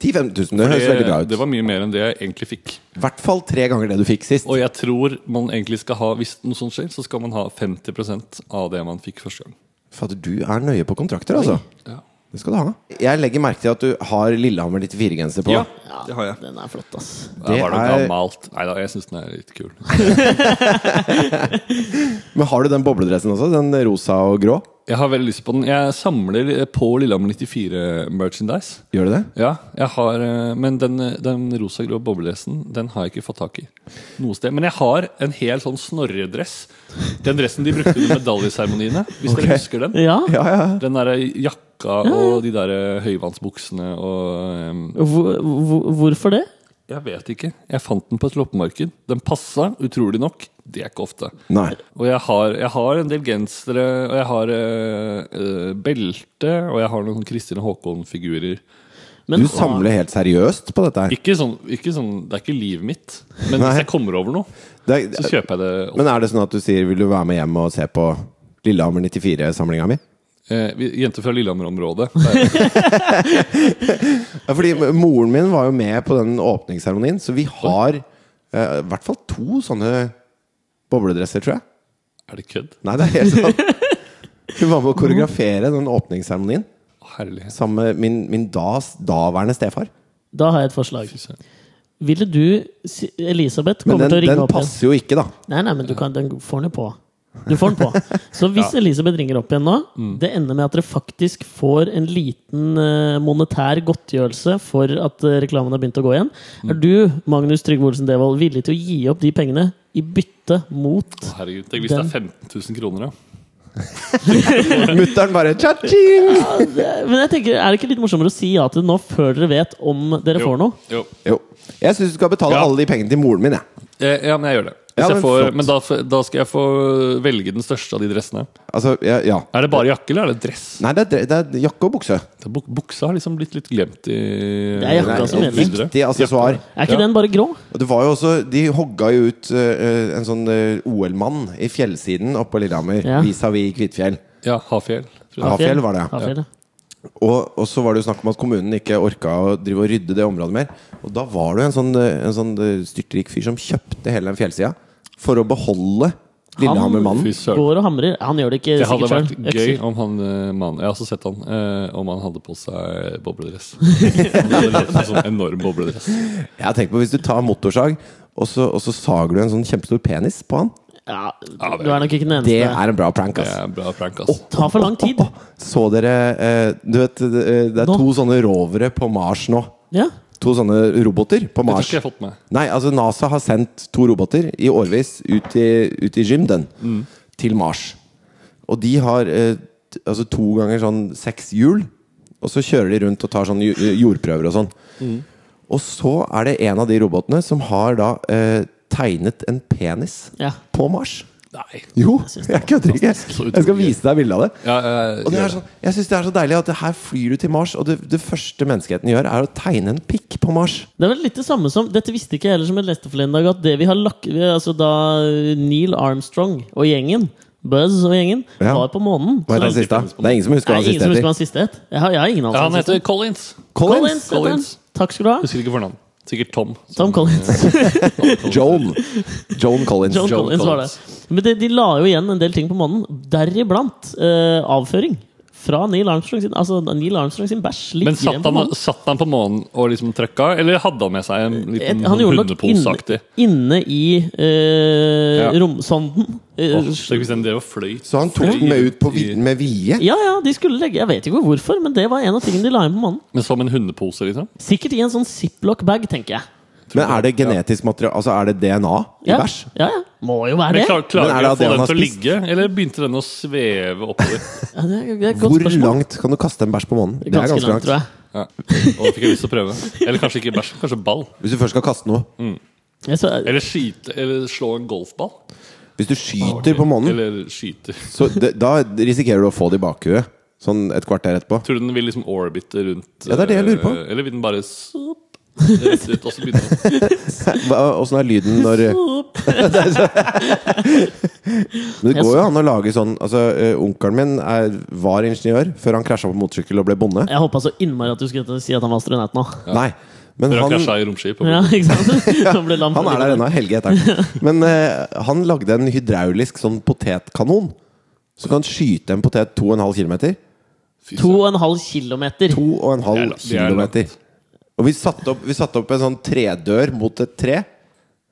S1: 10 000-15 000, det høres veldig bra
S2: det,
S1: ut.
S2: det var mye mer enn det jeg egentlig fikk.
S1: I hvert fall tre ganger det du fikk sist.
S2: Og jeg tror man egentlig skal ha hvis noe sånt skjer, så skal man ha 50 av det man fikk første gang.
S1: Fader, du er nøye på kontrakter, altså.
S2: Ja.
S1: Det skal du ha. Jeg legger merke til at du har Lillehammer 94-genser på.
S2: Ja, det har jeg.
S3: Den er flott, ass.
S2: Det var noe
S1: er-
S2: gammelt. Nei da, jeg syns den er litt kul.
S1: Men har du den bobledressen også? Den rosa og grå?
S2: Jeg har veldig lyst på den. Jeg samler eh, på Lillehammer 94-merchandise.
S1: Gjør du det?
S2: Ja, jeg har, eh, Men den, eh, den rosa-grå bobledressen den har jeg ikke fått tak i noe sted. Men jeg har en hel sånn snorredress. Den dressen de brukte under medaljeseremoniene. Hvis dere husker den.
S3: Ja.
S1: Ja, ja.
S2: Den derre jakka jakka og de der eh, høyvannsbuksene og ehm,
S3: Hvor, hvor, hvorfor det?
S2: Jeg vet ikke. Jeg fant den på et loppemarked. Den passa, utrolig nok. Det er ikke ofte.
S1: Nei.
S2: Og jeg har, jeg har en del gensere, og jeg har eh, eh, belte, og jeg har noen Kristin Håkon-figurer.
S3: Men,
S1: Du samler helt seriøst på dette her.
S2: Ikke sånn, ikke sånn, det er ikke livet mitt, men
S1: Nei.
S2: hvis jeg kommer over noe,
S1: Det
S2: så
S1: er-
S2: kjøper jeg det opp.
S1: Men er det sånn at du sier 'vil du være med hjem og se på Lillehammer 94-samlinga mi'?
S2: Eh, vi- Jenter fra Lillehammer-området. Det er-
S1: Ja, fordi m- moren min var jo med på den åpningsseremonien, så vi har eh, i hvert fall to sånne bobledresser, tror jeg.
S2: Er det kødd?
S1: Nei, det er helt sant. Hun var med å koreografere den åpningsseremonien
S2: Å, Herlighet.
S1: sammen med min, min das daværende stefar.
S3: Da har jeg et forslag.
S2: Fy søren.
S3: Ville du si- Elisabeth
S1: Men
S3: kommer
S1: den,
S3: til å ringe
S1: den
S3: opp igjen.
S1: passer jo ikke, da.
S3: Nei, nei, men du kan, den får den jo på. Du får den på. Så hvis Elisabeth ringer opp igjen nå, det ender med at dere faktisk får en liten eh, monetær godtgjørelse for at eh, reklamen har begynt å gå igjen. Er du, Magnus Trygve Olsen Devold, villig til å gi opp de pengene i bytte mot
S2: Å, Herregud, tenk hvis det
S3: Den-
S2: er 15 000 kroner, ja.
S1: Mutter'n bare tja-ching!
S3: Men Altså, jeg tenker, er det ikke litt morsommere å si ja til det nå før dere vet om dere får noe?
S2: Jo.
S1: Jo. Jeg syns du skal betale
S2: Ja.
S1: alle de pengene til moren min, jeg.
S2: Eh, ja, men jeg gjør det. Hvis
S1: Ja,
S2: jeg
S1: men
S2: får,
S1: flott.
S2: men da, f- da skal jeg få velge den største av de dressene.
S1: Altså, ja, ja.
S2: Er det bare jakke, eller er det dress?
S1: Nei, det er, dre- det er jakke og bukse.
S2: Det er buk- Buksa har liksom blitt litt glemt i
S3: Det er
S1: Det
S3: jakka
S1: er
S3: som
S1: et
S3: gjelder.
S2: Videre.
S1: viktig aksessoar.
S3: Er ikke
S2: Ja.
S3: den bare grå?
S1: Og det var jo også, De hogga jo ut eh, en sånn eh, OL-mann i fjellsiden oppe på Lillehammer.
S3: Ja.
S1: Vis-à-vis Kvitfjell.
S2: Ja, Hafjell. tror jeg.
S1: Ja. Hafjell var det, ja.
S3: Hafjell, ja.
S1: Og, og så var det jo snakk om at kommunen ikke orka å drive og rydde det området mer. Og da var det jo en sånn, eh, en sånn eh, styrtrik fyr som kjøpte hele den fjellsida for å beholde
S2: Fy
S1: Lillehammer-mannen.
S2: søren.
S3: Går og hamrer. Han gjør det ikke
S2: Det hadde
S3: sikkert
S2: vært
S3: selv.
S2: gøy
S3: Økser.
S2: om han eh, mannen Jeg har også sett han. eh, om han hadde på seg bobledress. Han hadde levd en sånn enorm bobledress.
S1: Jeg har tenkt på Hvis du tar motorsag, og så, og så sager du en sånn kjempestor penis på han,
S3: Ja,
S2: Ja, det-
S3: du er nok ikke den eneste.
S1: det er en bra prank,
S2: Det
S1: ass.
S2: er en bra prank, ass.
S3: tar for lang tid.
S1: Åh, åh, Så dere eh, Du vet, det det er
S3: Nå.
S1: to sånne rovere på Mars nå.
S3: Ja.
S1: To sånne roboter på
S2: Det har
S1: Mars.
S2: ikke jeg fått med.
S1: Nei, altså NASA har sendt to roboter i årevis ut i, ut i Gymden til Mars. Og de har eh, t- altså to ganger sånn seks hjul, og så kjører de rundt og tar sånn ju- jordprøver og sånn. Og så er det en av de robotene som har da eh, tegnet en penis
S3: ja.
S1: på Mars.
S2: Nei.
S1: Jo,
S3: synes det
S1: jeg kødder ikke!
S2: Så utrolig
S1: Jeg skal vise deg bilde av det.
S2: Ja, eh,
S1: Og det
S2: gjør
S1: er sånn, jeg syns det er så deilig at det her flyr du til Mars, og det, det første menneskeheten gjør, er å tegne en pikk på Mars.
S3: Det er vel litt det samme som Dette visste ikke jeg heller som jeg leste forleden dag, at det vi har lagt vi, Altså da Neil Armstrong og gjengen, Buzz og gjengen,
S1: Ja.
S3: var på månen
S1: Hva het
S3: så-
S1: den siste? Det er ingen som husker
S3: Nei,
S1: hva den
S3: ingen
S1: siste
S3: som husker hva
S1: heter.
S3: han siste het. Jeg har, jeg har ingen anelse.
S2: Ja,
S3: om
S1: Sånn
S2: han heter Collins.
S3: Collins. heter han.
S2: Collins.
S3: Takk skal du ha.
S2: Husker ikke fornavn. Sikkert Tom.
S3: Tom Collins.
S1: Joan. Joan Collins.
S3: John
S2: John
S3: Collins var det. Men de, de la jo igjen en del ting på månen, deriblant eh, avføring. Fra Neil Armstrong sin Altså Neil Armstrong sin bæsj. ligger
S2: Men
S3: igjen
S2: satt
S3: på månen.
S2: han, altså satt han på månen og liksom trøkka, eller hadde han med seg en liten sånn
S3: Et- Han gjorde nok
S2: hundeposeaktig?
S3: inne, inne i eh,
S2: Ja.
S3: romsonden. Eh,
S2: Åh, tenk hvis den drev og fløy
S1: Så han tok den med ut på vi, med vie?
S3: ja, ja, de skulle legge Jeg vet ikke hvorfor, men det var en av tingene de la inn på månen.
S2: Men som en hundepose, liksom?
S3: Sikkert i en sånn ziplock-bag, tenker jeg.
S1: Men er det genetisk materiale? Altså er det DNA i
S3: Ja,
S1: bæsj?
S3: ja, ja. Må jo
S2: Men
S3: være det.
S2: klar,
S1: Men er det
S2: Klarer vi
S1: at
S2: å få
S1: den
S2: den
S1: har
S2: til å
S1: spist?
S2: ligge, eller begynte den å sveve oppover?
S3: Ja, det, er, det er et godt
S1: Hvor
S3: spørsmål.
S1: langt kan du kaste en bæsj på månen? Det er
S3: Ganske langt, tror jeg.
S2: Ja. Og da fikk jeg lyst til å prøve. Eller kanskje ikke bæsj, kanskje ball.
S1: Hvis du først skal kaste noe.
S3: Mm. Jeg så,
S2: Eller, skyte, eller slå en golfball.
S1: Hvis du skyter på månen,
S2: Eller skyter.
S1: så det, da risikerer du å få det i bakhuet sånn et kvarter etterpå.
S2: Tror du den vil liksom orbite rundt
S1: Ja, det er det jeg lurer på.
S2: eh, Eller vil den bare sopp, rett ut, og så begynne å
S1: Åssen er lyden når Men det går jo an å lage sånn Altså, eh, Onkelen min er, var ingeniør før han krasja på motorsykkel og ble bonde.
S3: jeg håpa så innmari at du skulle til å si at han var astronaut nå.
S1: Nei. Men
S2: Dere har
S1: han,
S2: krasja i romskip?
S3: Ja, ikke sant? Han, ble lam for
S1: Han er der
S3: livet.
S1: ennå, Helge heter han. Men eh, han lagde en hydraulisk sånn potetkanon. Som kan skyte en potet 2,5 km.
S2: Fy
S3: To
S2: søren.
S3: og en halv kilometer.
S1: 2,5
S2: Det er la- det er
S1: km. Og vi satte, opp, vi satte opp en sånn tredør mot et tre.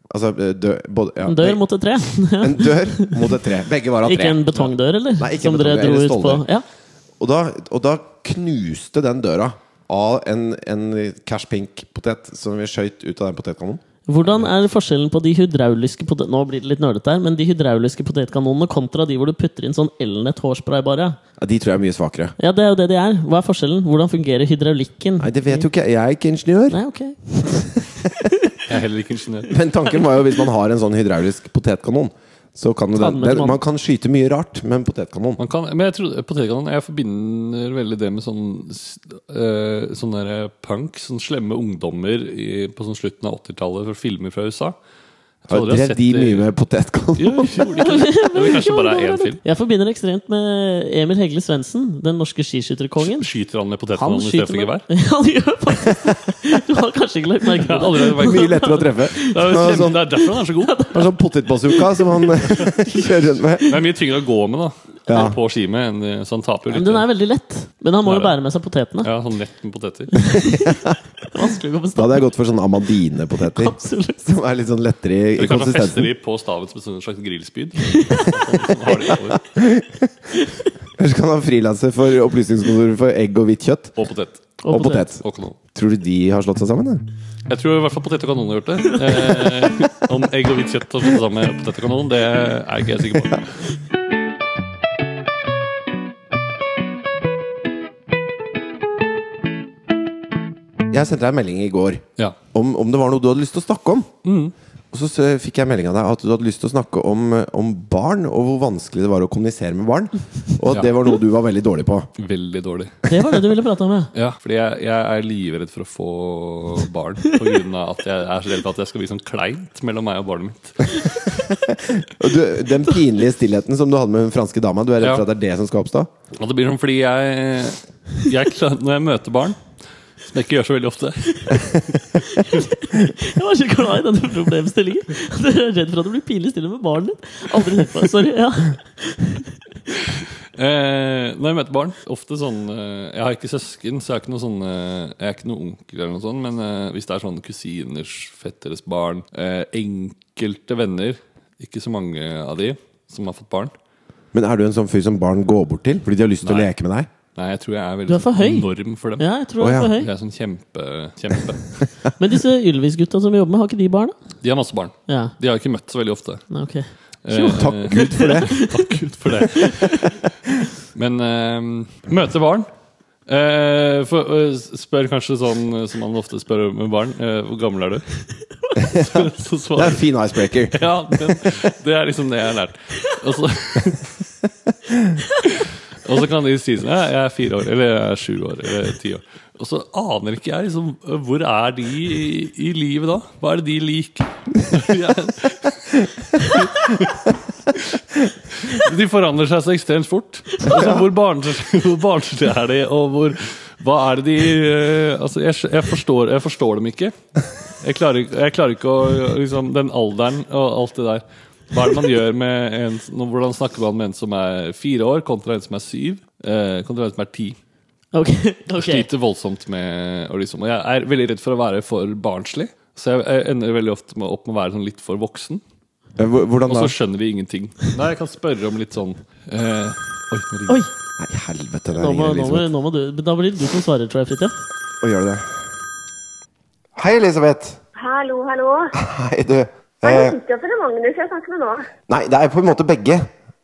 S1: Altså eh, dø- både, ja,
S3: En dør mot et tre.
S1: en dør mot et tre. Begge var av
S3: Ikke
S1: tre.
S3: en betongdør, eller?
S1: Nei, ikke
S3: Som dere
S1: betongdør,
S3: dro
S1: eller
S3: ut på.
S1: ståldør.
S3: Ja.
S1: Og da, og da knuste den døra av en, en cash pink-potet som vi skøyt ut av den potetkanonen.
S3: Hvordan er forskjellen på de hydrauliske potet... Nå blir det litt nerdete her, men de hydrauliske potetkanonene kontra de hvor du putter inn sånn elnett hårspray bare?
S1: Ja, de tror jeg er mye svakere.
S3: Ja, det er jo det de er. Hva er forskjellen? Hvordan fungerer hydraulikken?
S1: Nei, det vet jo ikke jeg. Jeg er ikke ingeniør.
S3: Nei, ok.
S2: Jeg er heller ikke ingeniør.
S1: Men tanken var jo hvis man har en sånn hydraulisk potetkanon, så kan jo
S3: Ta
S1: den,
S3: den med til
S1: den
S3: mannen.
S1: Man kan syskyte mye rart med en potetkanon.
S2: Man kan, men jeg trodde, potetkanon Jeg forbinder veldig det med sånn s- eh, Sånn der punk. Sånn slemme ungdommer i, på sånn slutten av 80-tallet fra filmer fra USA. Jeg tror
S1: Har
S2: aldri jeg
S1: drev de
S2: det-
S1: mye med potetkanon?
S2: Ja, jeg gjorde ikke det. Det var kanskje bare én film.
S3: Jeg forbinder ekstremt med Emil Hegle Svendsen, den norske skiskytterkongen.
S2: Skyter han med
S3: Han
S2: potetkanonen
S3: skyter
S2: istedenfor gevær?
S3: med Ja, han gjør faktisk det. Du har kanskje ikke lagt
S2: Jeg
S3: merke
S2: har
S3: til det.
S2: aldri vært-
S1: Mye lettere å treffe.
S2: Det er jo
S1: Han har
S2: slemme-
S1: sånn,
S2: det er derfor han er så god.
S1: han har sånn potetbazooka som han kjører rundt med.
S2: Det er mye tyngre å gå med da
S1: Ja.
S2: på ski med, enn, eh, så han taper jo
S3: Men
S2: litt.
S3: den er veldig lett. Men han må jo bære med seg potetene.
S2: Ja, sånn lett med poteter.
S3: Vanskelig å gå på
S1: Da
S3: stand.
S1: hadde jeg gått for sånn amadinepoteter.
S3: Absolutt.
S1: Som er litt sånn lettere i-
S2: Du
S1: i
S2: kan ta feste
S1: konsistensen.
S2: de på staven som en slags grillspyd. Sånn- sånn har de over.
S1: Ellers kan han frilanse for Opplysningskontoret for egg og hvitt kjøtt.
S2: Og potet.
S1: Og potet.
S2: Og kanon.
S1: Tror du de har slått seg sammen? da?
S2: Jeg tror i hvert fall potet og kanon har gjort det. Eh, om egg og hvitt kjøtt har fått sammen med potet og kanon, det er ikke jeg sikker på.
S1: Jeg sendte deg en melding i går
S2: Ja.
S1: om, om det var noe du hadde lyst til å snakke om. Og så, s- fikk jeg melding av deg at du hadde lyst til å snakke om, eh, om barn, og hvor vanskelig det var å kommunisere med barn. Og at
S2: Ja.
S1: det var noe du var veldig dårlig på.
S2: Veldig dårlig.
S3: Det var det du ville prate om, ja.
S2: Ja, fordi jeg, jeg er livredd for å få barn. På grunn av at jeg er så redd for at jeg skal bli sånn kleint mellom meg og barnet mitt.
S1: Og du, den pinlige stillheten som du hadde med den franske dama, du er redd
S2: Ja.
S1: for at det er det som skal oppstå?
S2: Og det blir sånn fordi jeg, jeg klar- Når jeg møter barn, som jeg ikke gjør så veldig ofte
S3: Jeg var ikke glad i denne problemstillingen. Du er redd for at det blir pinlig stille med barnet ditt. Aldri tenkt på det. Sorry. Ja.
S2: Eh, når jeg møter barn, ofte sånn eh, Jeg har ikke søsken, så jeg er ikke noe sånn eh, Jeg er ikke noe onkel eller noe sånt, men eh, hvis det er sånn kusiners, fetteres barn, eh, enkelte venner, ikke så mange av de som har fått barn
S1: Men er du en sånn fyr som barn går bort til fordi de har lyst til å
S2: Nei.
S1: leke med deg?
S2: Nei, jeg tror jeg er
S3: Du er
S2: veldig sånn
S3: for høy.
S2: enorm for dem.
S3: ja, jeg tror
S1: Å,
S3: jeg er for
S1: ja.
S3: høy.
S2: Jeg er sånn kjempe, kjempe.
S3: Men disse Ylvis-gutta som vi jobber med, har ikke de barna?
S2: De har masse barn.
S3: Ja.
S2: De har jeg ikke møtt så veldig ofte.
S3: Nei, ok.
S2: Eh,
S1: Takk Gud for det!
S2: Takk Gud for det. Men eh, møte barn. Eh, for, eh, spør kanskje sånn eh, som man ofte spør med barn. eh, hvor gammel er du? så, så
S1: Det er
S2: svarer
S1: en fin icebreaker.
S2: Ja, men, det er liksom det jeg har lært. Og så, og så kan de si sånn «Ja, Jeg er fire år, eller jeg er sju år, eller ti år. Og så aner ikke jeg liksom Hvor er de i, i livet da? Hva er det de liker? Jeg- De forandrer seg så ekstremt fort. Altså, hvor barnslig hvor barnslig er de, og hvor Hva er det de eh, Altså, jeg, skj- jeg, forstår, jeg forstår dem ikke. Jeg klarer, ikke- jeg klarer ikke å liksom, Den alderen og alt det der. Hva er det man gjør med en nå, Hvordan snakker man med en som er fire år, kontra en som er syv? Eh, kontra en som er ti.
S3: Ok,
S2: Jeg
S3: ok.
S2: Sliter voldsomt med og liksom, Og jeg er veldig redd for å være for barnslig. Så jeg, jeg ender veldig ofte med, opp med å være sånn litt for voksen.
S1: Eh, hvor- Hvordan da?
S2: Og så skjønner de ingenting. Nei, jeg kan spørre om litt sånn eh, Oi, nå ringer
S3: Oi,
S1: Nei, helvete, der
S3: nå
S1: ringer
S3: må, nå må,
S1: Elisabeth.
S3: nå må du Da blir det du som svarer, tror jeg, Fridtjof.
S1: Og gjør det. Hei, Elisabeth!
S5: Hallo, hallo.
S1: Hei, du.
S5: Hei, det
S1: Eh,
S5: er Kristoffer og Magnus jeg snakker med nå.
S1: nei, det er på en måte begge.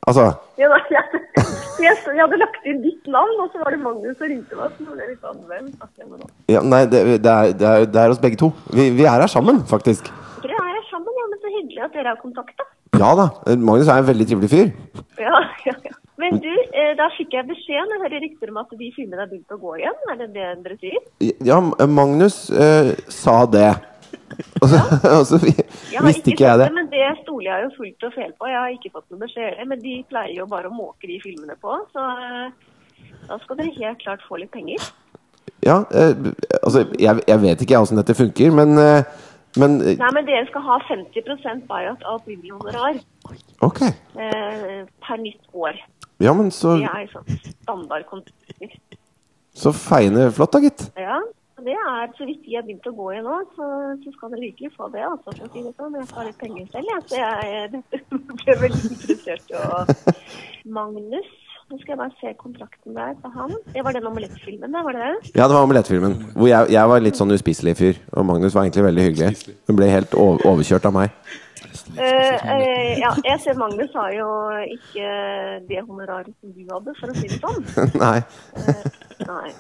S1: Altså
S5: Ja, da, jeg, jeg, jeg hadde lagt inn ditt navn, og så var det Magnus som ringte meg. Så nå ble jeg litt annerledes. snakker jeg med nå.
S1: ja, Nei, det, det, er, det, er, det er oss begge to. Vi, vi er her sammen, faktisk.
S5: Dere er her sammen, ja, men så hyggelig at dere har kontakt, da.
S1: Ja da. eh, Magnus er en veldig trivelig fyr.
S5: Ja, ja, ja. Men du, eh, da fikk jeg beskjed når jeg hører rykter om at de filmene har begynt å gå igjen. Er det det dere sier?
S1: Ja, M- Magnus eh, sa det. Og så, og så vi,
S5: Jeg har
S1: visste ikke
S5: sett
S1: jeg det.
S5: Men det stoler jeg jo fullt og fel på. Jeg har ikke fått noen beskjed heller, men de pleier jo bare å måke de filmene på. Så eh, da skal dere helt klart få litt penger.
S1: Ja, eh, altså, jeg, jeg vet ikke åssen dette funker, men, eh, men eh,
S5: Nei, men dere skal ha 50 buyout av opprinnelig honorar
S1: Ok.
S5: eh, per nytt år.
S1: Ja, men så,
S5: Det er sånn standardkontrakter.
S1: så feiende flott, da, gitt.
S5: Ja. og Det er så vidt de har begynt å gå i nå, så, så skal dere virkelig få det. altså, for å si det sånn. Jeg har litt penger selv, jeg, så jeg eh, ble veldig interessert. Og Magnus Nå skal jeg bare se kontrakten der på han. Det var den omelettfilmen, da, var det det?
S1: Ja, det var omelettfilmen. Hvor jeg, jeg var en litt sånn uspiselig fyr. Og Magnus var egentlig veldig hyggelig. Hun ble helt o- overkjørt av meg.
S5: Eh, eh, ja, jeg ser Magnus har jo ikke det honoraret som du hadde, for å si det sånn.
S1: Nei.
S5: Nei.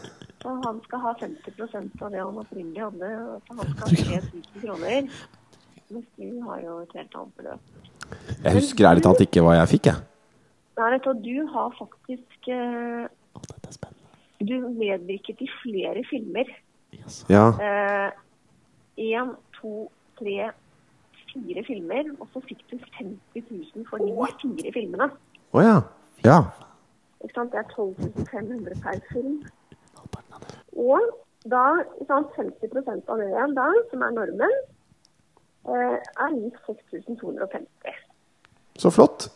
S5: Så han skal ha 50 av det han opprinnelig hadde. Så han skal ha 3000 kroner. Mens du har jo et helt annet beløp.
S1: Jeg husker ærlig talt ikke hva jeg fikk, jeg.
S5: Nei, vet du, hva, du har faktisk eh,
S3: Å, dette er spennende.
S5: Du medvirket i flere filmer.
S3: Jaså.
S1: Ja.
S5: Én, to, tre, fire filmer. Og så fikk du 50 000 for de fire filmene.
S1: Å ja. Ja.
S5: Ikke sant? Det er 12 500 per film.
S3: Halvparten av det.
S5: Og da, ikke sant, 50 av det igjen da, som er normen, eh, er lik 6250.
S1: Så flott.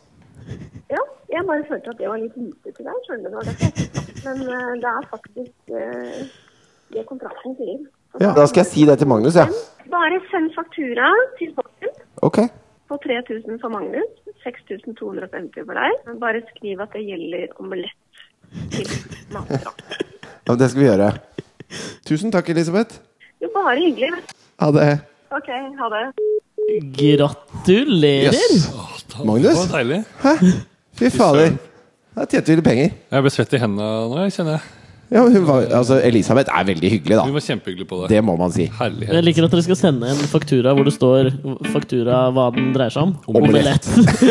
S5: Ja, jeg bare følte at det var litt lite til deg, skjønner du. og det er ikke sant, Men eh, det er faktisk eh, det kontrakten sier. Så
S1: Ja, da skal jeg si det til Magnus, jeg. Ja.
S5: Bare send faktura til Posten
S1: Ok.
S5: på 3000 for Magnus, 6250 for deg. Men Bare skriv at det gjelder omelett til matdrakt.
S1: Ja, men det skal vi gjøre. Tusen takk, Elisabeth.
S5: Jo, bare hyggelig. vet du.
S1: Ha det.
S5: OK, ha det.
S3: Gratulerer!
S1: Magnus?
S2: Det var deilig.
S1: Fy fader. Da tjente vi litt penger.
S2: Jeg ble svett i hendene nå, jeg kjenner jeg.
S1: Ja, men hun var, altså, Elisabeth er veldig hyggelig,
S2: Vi
S1: da.
S2: var kjempehyggelige på det.
S1: Det må man si.
S2: Herlighet.
S3: Jeg liker at dere skal sende en faktura hvor det står faktura hva den dreier seg om.
S1: Omelett.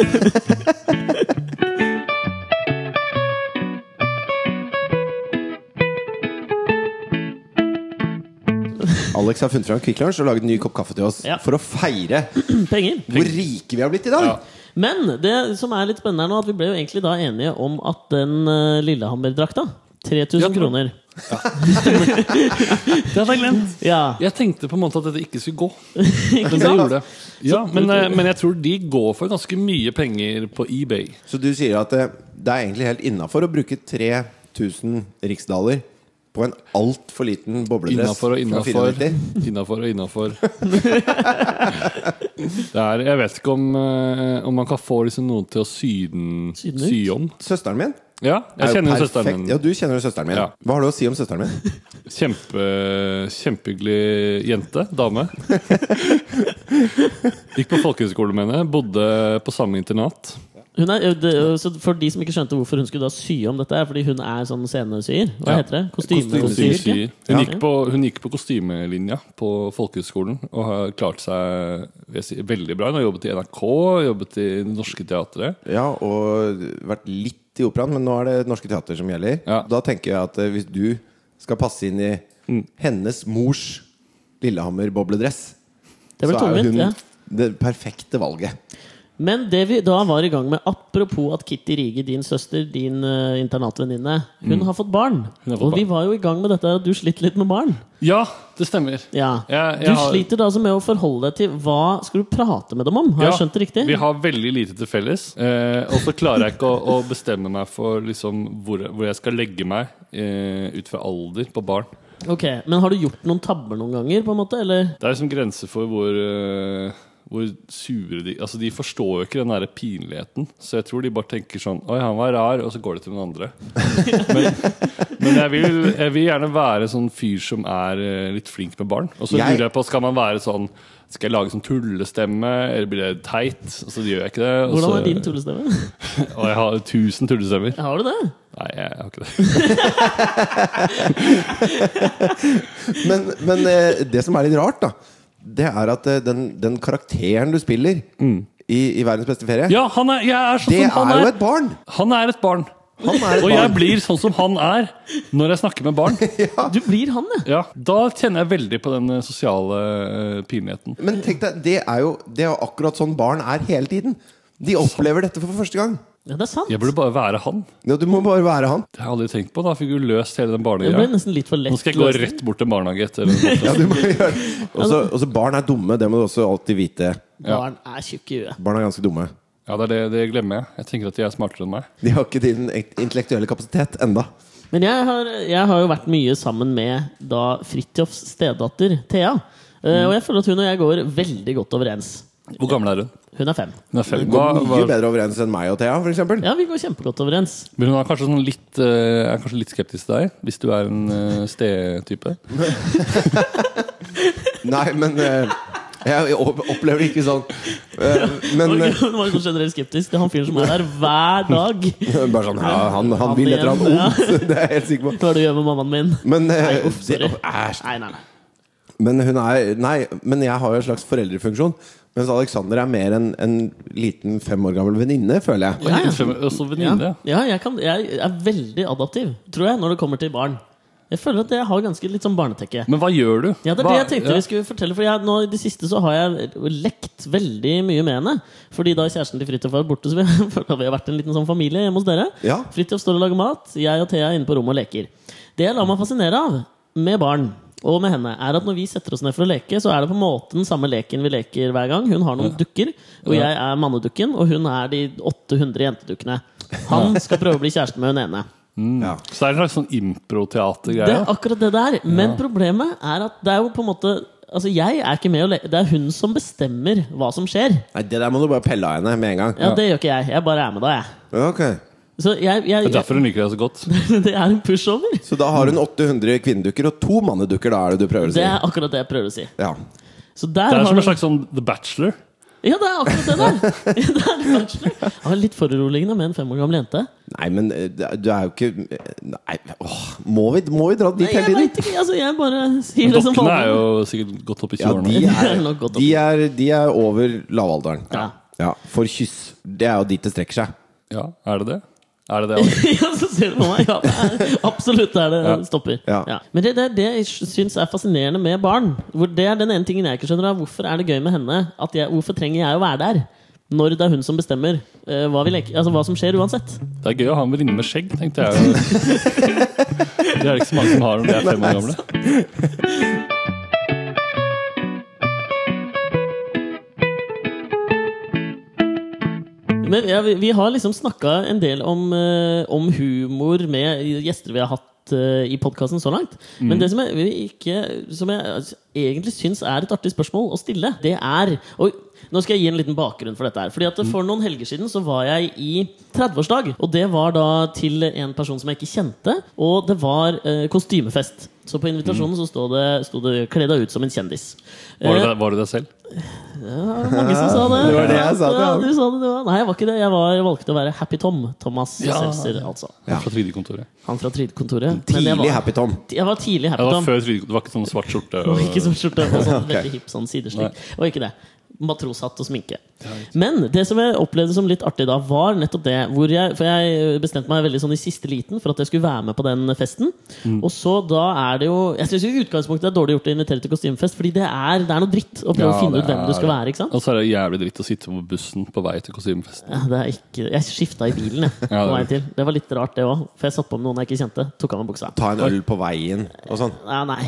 S1: Alex har funnet fram Kvikk Lunsj og laget en ny kopp kaffe til oss
S3: Ja.
S1: for å feire
S3: Penger.
S1: hvor rike vi har blitt i dag.
S2: Ja.
S3: Men det som er litt spennende her nå, at vi ble jo egentlig da enige om at den eh, Lillehammer-drakta 3000
S2: Ja, det var-
S3: kroner.
S2: Det hadde jeg glemt.
S3: Ja,
S2: Jeg tenkte på en måte at dette ikke skulle gå.
S3: ikke
S2: Men det
S3: sant?
S2: gjorde det. Ja, men, eh, men jeg tror de går for ganske mye penger på eBay.
S1: Så du sier at eh, det er egentlig helt innafor å bruke 3000 riksdaler på en altfor liten bobledress?
S2: Innafor og
S1: fra
S2: innafor.
S1: 94?
S2: Innafor og innafor. Det er- Jeg vet ikke om, eh, om man kan få liksom noen til å sy den
S3: Sy den ut?
S2: sy om.
S1: Søsteren min?
S2: Ja,
S1: er
S2: jeg
S1: jo
S2: kjenner jo
S1: perfekt.
S2: søsteren min.
S1: Ja, du kjenner jo søsteren min.
S2: Ja.
S1: Hva har du å si om søsteren min?
S2: Kjempe, kjempehyggelig jente. Dame. Gikk på folkehøyskole med henne. Bodde på samme internat.
S3: Hun er, eh, det, så for de som ikke skjønte hvorfor hun skulle da sy om dette, er fordi hun er sånn scenesyer. Hva
S2: Ja.
S3: heter det? Kostymesyr?
S2: Kostymesyer. Hun,
S1: Ja.
S2: gikk på, hun gikk på kostymelinja på folkehøgskolen og har klart seg vil jeg si, veldig bra. Hun har jobbet i NRK, jobbet i Det Norske Teatret.
S1: Ja, og vært litt i operaen, men nå er det Norske Teater som gjelder.
S2: Ja.
S1: Da tenker jeg at eh, hvis du skal passe inn i
S2: Mm.
S1: hennes mors Lillehammer-bobledress,
S3: Det er vel
S1: så er jo
S3: tungvint,
S1: hun
S3: ja.
S1: det perfekte valget.
S3: Men det vi da var i gang med, apropos at Kitty Rige, din søster, din eh, internatvenninne, hun har fått barn.
S2: Mm. Hun har fått
S3: og vi
S2: barn.
S3: var jo i gang med dette at du slitt litt med barn.
S2: Ja, det stemmer.
S3: Ja.
S2: Jeg- jeg
S3: du
S2: har-
S3: sliter da altså med å forholde deg til hva skal du prate med dem om? Har
S2: Ja,
S3: jeg skjønt det riktig?
S2: Vi har veldig lite til felles. Eh, og så klarer jeg ikke å, å bestemme meg for liksom hvor, hvor jeg skal legge meg eh, ut fra alder på barn.
S3: Ok, Men har du gjort noen tabber noen ganger? på en måte, eller?
S2: Det er liksom grenser for hvor, eh, hvor sure de Altså, de forstår jo ikke den der pinligheten. Så jeg tror de bare tenker sånn Oi, han var rar, og så går det til noen andre. men men jeg, vil, jeg vil gjerne være en sånn fyr som er eh, litt flink med barn. Og så
S1: Jeg-
S2: lurer jeg på, skal man være sånn skal jeg lage sånn tullestemme, eller blir det teit? Og så gjør jeg ikke det. og
S3: Hvordan
S2: så-
S3: er din tullestemme?
S2: Og jeg har tusen tullestemmer.
S3: Har du det?
S2: Nei, jeg har ikke det.
S1: Men, men eh, det som er litt rart, da, det er at eh, den, den karakteren du spiller i, i Verdens beste ferie,
S2: Mm. Ja, han er, jeg er sånn
S1: det
S2: som han
S1: er jo
S2: er.
S1: et barn!
S2: Han er et barn.
S1: Han er et
S2: Og jeg
S1: barn.
S2: blir sånn som han er når jeg snakker med barn.
S3: Du blir han, ja.
S2: Ja, Da kjenner jeg veldig på den eh, sosiale eh, pinligheten.
S1: Men tenk deg, det er, jo, det er jo akkurat sånn barn er hele tiden. De opplever dette for første gang.
S3: ja. Det er sant.
S2: Jeg burde bare være han.
S1: Ja, du må bare være han.
S2: Det har jeg aldri tenkt på. Da fikk du løst hele den
S3: Det ble
S2: barnegreia.
S3: nesten litt for lett.
S2: Nå skal jeg gå
S3: løsning.
S2: rett bort til barnehage etter den.
S1: Ja, du må gjøre det. Også, også barn er dumme, det må du også alltid vite.
S2: Ja.
S3: Barn er tjukke i huet.
S1: Barn er ganske dumme.
S2: Ja, det, er det, det glemmer jeg. Jeg tenker at de er smartere enn meg.
S1: De har ikke din intellektuelle kapasitet enda
S3: Men jeg har, jeg har jo vært mye sammen med da Fridtjofs stedatter Thea. Eh, Og jeg føler at hun og jeg går veldig godt overens.
S2: Hvor gammel er hun?
S3: Hun er fem.
S2: Hun er fem.
S1: Går
S2: Hva-
S1: mye
S2: hva-
S1: bedre overens enn meg og Thea, for eksempel.
S3: Ja, vi går kjempegodt overens.
S2: Men hun er kanskje, sånn litt, eh, er kanskje litt skeptisk til deg, hvis du er en uh, stetype.
S1: Nei, men eh, jeg opp- opplever det ikke sånn. Eh, men
S3: Hun
S1: eh,
S3: var jo generelt skeptisk til han fyren som er der hver dag.
S1: bare sånn ja, han, han vil et eller annet
S3: Ja.
S1: ondt. Det er jeg helt sikker på.
S3: Hva er det du gjør med mammaen min?
S1: Men, eh,
S3: Nei, uff, sorry.
S1: det- Æsj.
S3: Nei, nei, nei.
S1: men hun er Nei, men jeg har jo en slags foreldrefunksjon. Mens Alexander er mer en, en liten fem år gammel venninne, føler jeg.
S3: Ja, ja.
S2: Også
S3: Ja,
S2: venninne.
S3: ja jeg, kan, jeg er veldig adaptiv, tror jeg, når det kommer til barn. Jeg føler at jeg har ganske litt sånn barnetekke.
S2: Men hva gjør du?
S3: Ja, det er
S2: hva,
S3: det jeg tenkte vi skulle fortelle. For jeg, nå I det siste så har jeg lekt veldig mye med henne. Fordi da kjæresten til Fridtjof var borte, så vi, føler at vi har vært en liten sånn familie hjemme hos dere.
S1: Ja.
S3: Fridtjof står og lager mat, jeg og Thea er inne på rommet og leker. Det jeg lar meg fascinere av med barn og med henne, er at når vi setter oss ned for å leke, så er det på en måte den samme leken vi leker hver gang. Hun har noen dukker, og
S2: Ja.
S3: jeg er mannedukken, og hun er de 800 jentedukkene. Han skal prøve å bli kjæresten med hun ene.
S1: Ja.
S2: Så det er en slags sånn
S3: Det
S2: improteatergreie.
S3: er akkurat det der. Men problemet er at det er jo på en måte Altså jeg er ikke med å le Det er hun som bestemmer hva som skjer.
S1: Nei, det der må du bare pelle av henne med en gang.
S3: Ja, Det gjør ikke jeg. Jeg bare er med da, jeg.
S1: Ok
S3: Så jeg, jeg,
S2: Det er derfor hun liker deg så godt.
S3: Det er en pushover.
S1: Så da har hun 800 kvinnedukker og to mannedukker, da er det du prøver å si?
S3: Mm. Det er akkurat det jeg prøver å si.
S1: Ja.
S3: Så der
S2: Det er
S3: har
S2: som
S3: du-
S2: en slags sånn The Bachelor.
S3: Ja, det er akkurat det der! Ja, det er det bachelor. Det var litt foruroligende med en fem år gammel jente.
S1: Nei, men eh, det er- du er jo ikke eh, Nei, åh, må vi, må vi dra dit
S3: Nei,
S1: hele
S3: jeg
S1: tiden?
S3: vet ikke, altså jeg bare sier det som
S2: Dokkene er
S3: vanlig.
S2: jo sikkert godt opp i
S1: Ja,
S2: 20-årene.
S1: de
S3: Det er
S1: er,
S3: nok godt å
S1: de er, de er over lavalderen.
S3: Ja.
S1: Ja, For kyss. Det er jo dit det strekker seg.
S2: Ja, er det det? Er det det?
S3: Ja, så ser du på meg. Ja, det er, absolutt der det
S2: Ja.
S3: stopper.
S1: Ja.
S3: Men det, det, er det jeg syns er fascinerende med barn Hvor Det er den ene tingen jeg ikke skjønner. Er hvorfor er det gøy med henne? At jeg, hvorfor trenger jeg å være der? Når det er hun som bestemmer eh, hva, vi leker, altså, hva som skjer uansett.
S2: Det er gøy å ha en venninne med skjegg, tenkte jeg. Det er det ikke så mange som har når de er fem år gamle. Mm.
S3: Men ja, vi, vi har liksom snakka en del om, eh, om humor med gjester vi har hatt eh, i podkasten så langt.
S2: Mm.
S3: Men det som jeg, vi ikke, som jeg altså, egentlig syns er et artig spørsmål å stille, det er og Nå skal jeg gi en liten bakgrunn for dette her. Fordi
S2: Mm.
S3: at For noen helger siden så var jeg i 30-årsdag. Og det var da til en person som jeg ikke kjente. Og det var eh, kostymefest. Så på invitasjonen så sto det, sto det 'kle deg ut som en kjendis'.
S2: Mm. Var
S3: Eh,
S2: det deg- var det deg selv?
S3: ja, det var mange som sa det.
S1: Det var det jeg sa, det,
S3: Ja,
S1: ja.
S3: du sa det, det var. Nei, jeg var ikke det. Jeg var, valgte å være Happy Tom. Thomas
S2: Ja.
S3: Seltzer, altså.
S1: Ja.
S2: Fra trygdekontoret.
S3: Han fra Trygdekontoret. Men jeg
S1: Tidlig
S3: var-
S1: Happy Tom.
S3: Jeg var tidlig
S2: Ja,
S3: Happy
S2: det var
S3: Tom.
S2: før trygdekontoret. Det var ikke sånn svart skjorte.
S3: Og ikke
S2: Og...
S3: sånn skjorte og sånn
S1: Ok.
S3: veldig hipp sånn sideslikk. Og ikke det. Matroshatt og sminke. Men det som jeg opplevde som litt artig da, var nettopp det hvor jeg, For jeg bestemte meg veldig sånn i siste liten for at jeg skulle være med på den festen.
S2: Mm.
S3: Og så da er det jo Jeg syns i utgangspunktet det er dårlig gjort å invitere til kostymefest, fordi det er, det er noe dritt å prøve
S2: Ja,
S3: å finne
S2: det
S3: ut hvem du
S2: er
S3: skal
S2: det.
S3: være. ikke sant?
S2: Og så er det jævlig dritt å sitte på bussen på vei til kostymefest.
S3: Ja, det er ikke, jeg skifta i bilen, jeg.
S2: Ja, det-
S3: på vei til. Det var litt rart, det òg. For jeg satte på med noen jeg ikke kjente. Tok av meg buksa.
S1: Ta en øl på veien og sånn.
S3: Nei, nei.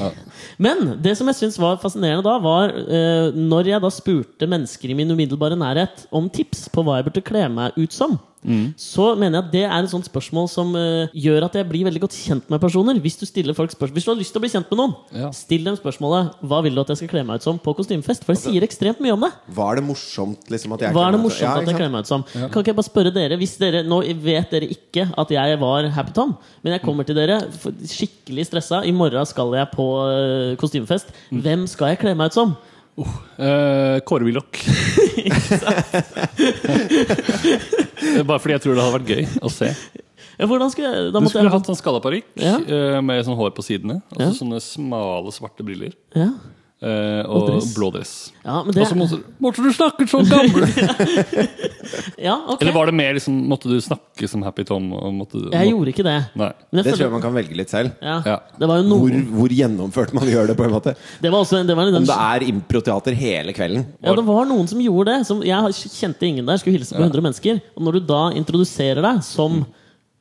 S3: Men det som jeg syns var fascinerende da, var eh, når jeg da spurte mennesker i min umiddelbare nærhet om tips på hva jeg burde kle meg ut som,
S2: Mm.
S3: så mener jeg at det er et sånt spørsmål som eh, gjør at jeg blir veldig godt kjent med personer. Hvis du stiller folk spørsmål Hvis du har lyst til å bli kjent med noen,
S2: Ja.
S3: still dem spørsmålet 'Hva vil du at jeg skal kle meg ut som?' på kostymefest. For det
S2: Altså-
S3: sier ekstremt mye om det.
S1: Hva er det morsomt liksom, at jeg
S3: Hva er det
S1: klemmer-
S3: morsomt
S1: Ja,
S3: at jeg
S1: ikke sant?
S3: kler meg ut som? Kan ikke jeg bare spørre dere hvis dere, Nå vet dere ikke at jeg var Happy Tom, men jeg kommer til dere f- skikkelig stressa. I morgen skal jeg på øh, kostymefest.
S2: Mm.
S3: Hvem skal jeg kle meg ut som?
S2: Eh, Kåre Willoch. Bare fordi jeg tror det hadde vært gøy å se.
S3: Ja, Hvordan skal jeg Da
S2: Du
S3: måtte
S2: skulle
S3: jeg
S2: hatt sånn skalla parykk
S3: Ja.
S2: eh, med sånn hår på sidene. Og så
S3: Ja.
S2: sånne smale, svarte briller.
S3: ja.
S2: eh, og
S3: Og dress.
S2: blå dress.
S3: ja, men
S2: Og
S3: det
S2: så måtte du Morten, du snakker så gammel!
S3: Ja, ok.
S2: Eller var det mer liksom Måtte du snakke som Happy Tom? Og måtte, du-
S3: Jeg gjorde ikke det.
S2: Nei.
S3: Men
S1: Det tror jeg
S3: føler-
S1: man kan velge litt selv.
S3: ja.
S2: Ja.
S3: Det var jo
S1: Hvor,
S3: noe
S1: hvor gjennomført man gjør det, på en måte.
S3: Det var også en- det var en,
S1: Om det er improteater hele kvelden.
S3: Ja, det var noen som gjorde det. Som, jeg kjente ingen der, skulle hilse på 100 mennesker. Og når du da introduserer deg
S2: Mm.
S3: som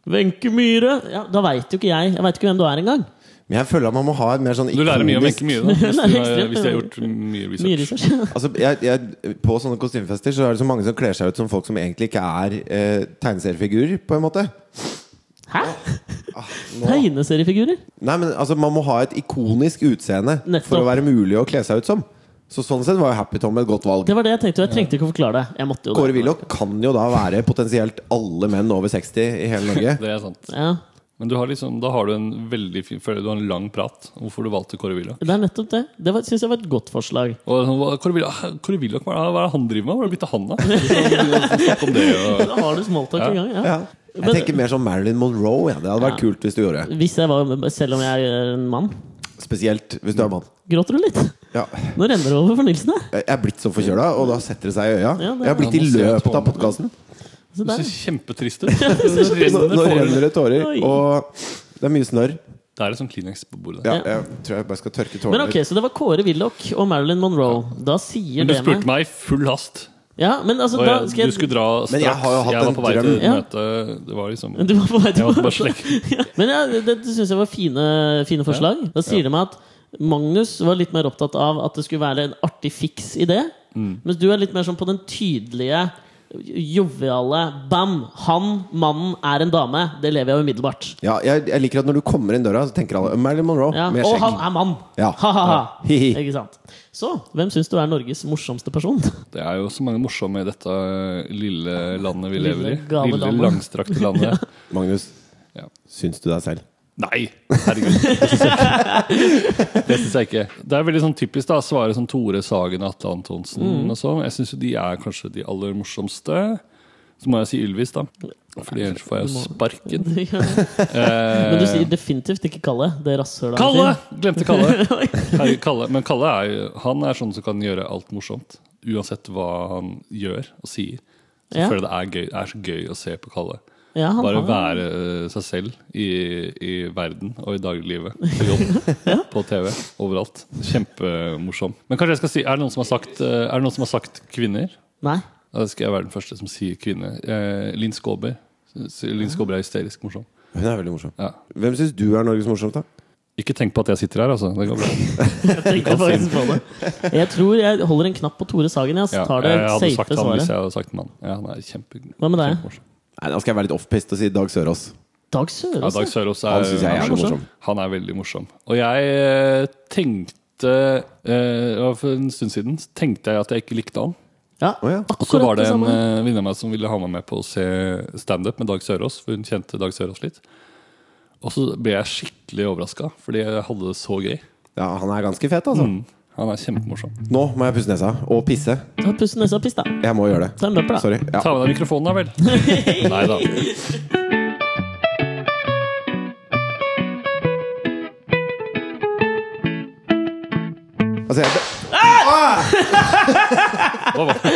S3: Wenche Myhre ja, Da veit jo ikke jeg Jeg vet ikke hvem du er engang.
S1: Men jeg føler at man må ha et mer sånn
S2: Du lærer mye om
S1: ikonisk-
S2: Wenche Myhre da, hvis,
S3: Det er
S2: du har-
S3: ekstremt.
S2: hvis jeg har gjort mye research.
S3: Myhre research.
S1: Altså, jeg, jeg, på sånne kostymefester så er det så mange som kler seg ut som folk som egentlig ikke er eh, tegneseriefigurer, på en måte. Ah,
S3: Hæ?
S1: Nå-
S3: Tegneseriefigurer?
S1: Nei, men altså, Man må ha et ikonisk utseende
S3: Nettopp.
S1: for å være mulig å kle seg ut som. Så sånn sett var jo Happy Tom et godt valg.
S3: Det var det jeg tenkte, og jeg trengte ikke å forklare det. Jeg måtte jo
S1: Kåre
S3: det.
S1: Willoch kan jo da være potensielt alle menn over 60 i hele Norge.
S2: Det er sant.
S3: Ja,
S2: Men du har liksom, da har du en veldig fin føler Du har en lang prat om hvorfor du valgte Kåre Willoch.
S3: det er nettopp det. Det var- synes jeg var et godt forslag.
S2: Og sånn, hva- Kåre Willoch, hæ, Kåre Willoch hva er det hva er det han driver med? Hva har det blitt av han, da? Liksom, Så snakk om det, og...
S3: Da har du smalltalk
S2: Ja.
S3: i gang.
S1: Ja.
S3: Ja.
S1: Jeg tenker mer som Marilyn Monroe. Ja. Det hadde vært
S3: Ja.
S1: kult hvis du gjorde det.
S3: Hvis jeg var, selv om jeg er en mann.
S1: Spesielt hvis du er mann.
S3: Gråter du litt?
S1: Ja.
S3: Nå renner det over for Nilsen, jeg.
S1: Jeg er blitt så forkjøla, og da setter det seg i øya.
S3: Ja, det-
S1: Jeg har blitt i
S2: Ja, nå ser jeg
S1: løpet av
S2: tårene.
S1: podkasten.
S3: Se
S2: Du
S3: der.
S2: ser kjempetrist ut. Det
S1: Nå, nå renner
S2: renner
S1: det tårer,
S3: Oi.
S1: og det er mye snørr.
S2: Det er et sånt Kleenex på bordet.
S1: Ja,
S3: Ja.
S1: jeg tror jeg bare skal tørke
S3: Men
S1: tårene
S3: ok, Så det var Kåre Willoch og Marilyn Monroe. Da sier
S2: Men du
S3: det meg
S2: spurte meg i full hast.
S3: Ja, men altså,
S2: Og
S3: da
S2: jeg,
S3: skal
S2: du skulle
S3: jeg
S2: dra
S1: Men
S2: straks.
S1: jeg har jo hatt
S2: var
S1: en
S2: på vei
S1: drøm.
S2: til
S3: Ja.
S2: møte. Det var liksom
S3: Du var på vei
S2: Jeg
S3: til
S2: måtte bare slekke.
S3: Ja, Men ja, det, det syns jeg var fine, fine forslag. Da sier det meg at Magnus var litt mer opptatt av at det skulle være en artig fiks i det. Mens du er litt mer sånn på den tydelige, joviale Bam! Han, mannen, er en dame. Det lever jeg jo umiddelbart.
S1: Ja, jeg, jeg liker at når du kommer inn døra, så tenker alle Marilyn Monroe
S3: Ja.
S1: med
S3: Og han
S1: skjegg.
S3: er mann!
S1: Ja.
S3: Ha-ha-ha!
S1: Hihi.
S3: Ikke sant? Så, hvem syns du er Norges morsomste person?
S2: Det er jo så mange morsomme i dette eh, lille landet vi
S3: Lille,
S2: lever i.
S3: gale
S2: Lille,
S3: landet.
S2: langstrakte landet.
S1: Magnus,
S2: Ja.
S1: syns du deg selv?
S2: Nei! Herregud. Det syns jeg ikke. Det synes jeg ikke. Det er veldig sånn typisk da, å svare sånn Tore Sagen og Atle Antonsen
S3: Mm.
S2: og sånn. Jeg syns jo de er kanskje de aller morsomste. Så må jeg si Ylvis, da. Fordi ellers får jeg jo sparken.
S3: Men du sier definitivt ikke Kalle. Det rasshølet. han
S2: Kalle!
S3: sier.
S2: Glemte Kalle. Herregud, Kalle. Men Kalle er, jo- han er sånn som kan gjøre alt morsomt. Uansett hva han gjør og sier. Så
S3: Ja.
S2: føler jeg det er, gøy, det er så gøy å se på Kalle.
S3: Ja, han
S2: Bare
S3: har-
S2: være eh, seg selv i, i verden og i dagliglivet. På jobb, på TV, overalt. Kjempemorsom. Men kanskje jeg skal si Er det noen som har sagt, eh, er det noen som har sagt kvinner?
S3: Nei.
S2: Da skal jeg være den første som sier kvinne. Eh, Linn Skåber. S- Linn Skåber er hysterisk morsom.
S1: Hun er veldig morsom.
S2: Ja.
S1: Hvem syns du er Norges morsomste?
S2: Ikke tenk på at jeg sitter her, altså. Det går bra.
S3: Jeg tenkte faktisk på det. Jeg tror jeg holder en knapp på Tore Sagen. Jeg
S2: Ja,
S3: altså, tar det
S2: jeg hadde sagt
S3: safe
S2: han hvis
S3: svaret.
S2: jeg hadde sagt mann. Ja, han er kjempe,
S3: Hva med deg?
S2: kjempemorsom.
S1: Nei, Da skal jeg være litt offpist og si Dag Sørås.
S3: Dag
S2: Ja,
S3: Sørås.
S2: Dag Sørås er,
S1: Han synes jeg er så morsom.
S2: Han er veldig morsom. Og jeg eh, tenkte eh, ja, For en stund siden så tenkte jeg at jeg ikke likte han.
S3: Ja,
S1: Å, ja.
S2: Og så
S3: akkurat
S2: var det en
S3: samme.
S2: eh, venninne av meg som ville ha meg med på å se standup med Dag Sørås, for hun kjente Dag Sørås litt. Og så ble jeg skikkelig overraska, fordi jeg hadde det så gøy.
S1: Ja, han er ganske fet, altså.
S2: Mm. Han er kjempemorsom.
S1: Nå må jeg pusse nesa. Og pisse.
S2: eh,
S3: Ta Puss nesa og piss, da.
S1: Jeg må gjøre
S3: Ta
S1: det.
S3: en løper, da.
S1: Sorry. Ja.
S2: Ta med deg mikrofonen, da vel. Nei da.
S1: Altså, jeg,
S2: Hva var det?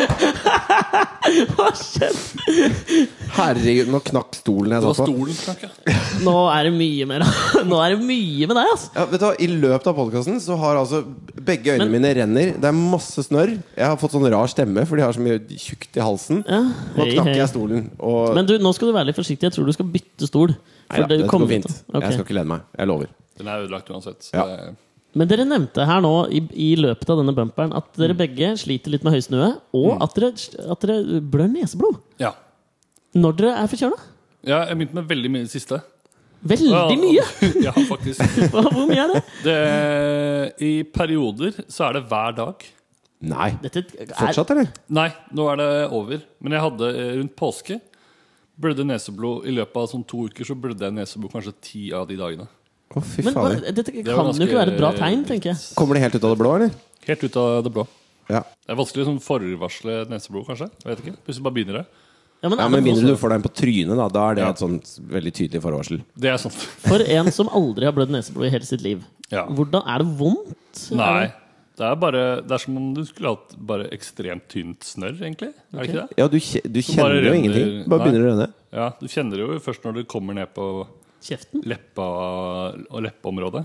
S3: Hva skjedde?
S1: herregud, nå knakk stolen jeg
S2: Det var
S1: satt på.
S2: stolen, snakk, ja.
S3: Nå er det mye mer Nå er det mye med deg, altså.
S1: Ja, vet du hva, I løpet av podkasten så har altså begge øynene mine renner. Det er masse snørr. Jeg har fått sånn rar stemme, for de har så mye tjukt i halsen.
S3: Ja.
S1: Nå
S3: Hei,
S1: knakk
S3: hei.
S1: jeg stolen. Og
S3: Men du, nå skal du være litt forsiktig. Jeg tror du skal bytte stol. For
S1: Neida,
S3: det
S1: dette
S3: kommer
S1: går fint.
S3: til- Ok.
S1: Jeg skal ikke lede meg. Jeg lover.
S2: Den er ødelagt uansett. Så
S1: Ja.
S2: det,
S3: Men dere nevnte her nå i, i løpet av denne bumperen at
S1: Mm.
S3: dere begge sliter litt med høysnue, og at dere, at dere blør neseblod
S2: ja.
S3: når dere er forkjøla.
S2: Ja, jeg begynte med veldig mye i det siste.
S3: Veldig mye!
S2: Ja, faktisk.
S3: Hva- Hvor mye er det?
S2: Det, I perioder så er det hver dag.
S1: Nei.
S3: Dette er,
S1: Fortsatt, eller?
S2: Nei, nå er det over. Men jeg hadde eh, rundt påske blødde neseblod. I løpet av sånn to uker så blødde jeg neseblod kanskje ti av de dagene.
S1: Å, fy
S3: Men
S1: fader.
S3: hva- dette kan
S2: var
S3: jo ikke
S2: ganske-
S3: være et bra tegn, tenker jeg.
S1: Kommer det helt ut av det blå, eller?
S2: Helt ut av det blå.
S1: Ja.
S2: Det er vanskelig å sånn forvarsle neseblod, kanskje. Jeg vet ikke. Plutselig bare begynner det.
S3: Ja, men,
S1: Ja,
S3: er
S1: Med
S3: det
S1: mindre du får den på trynet, da. Da er det
S2: Ja.
S1: et sånt veldig tydelig forvarsel.
S2: Det er sant.
S3: For en som aldri har blødd neseblod i hele sitt liv,
S2: Ja.
S3: hvordan er det vondt?
S2: Nei.
S3: Er det-
S2: Det er, bare, det er som om du skulle hatt bare ekstremt tynt snørr, egentlig. Er det ikke det?
S1: Ja, du, kje- du
S2: Så bare
S1: kjenner jo
S2: renner-
S1: ingenting. Bare
S2: Nei.
S1: begynner å renne.
S2: Ja, Du kjenner det jo først når du kommer ned på
S3: Kjeften?
S2: leppa og leppeområdet.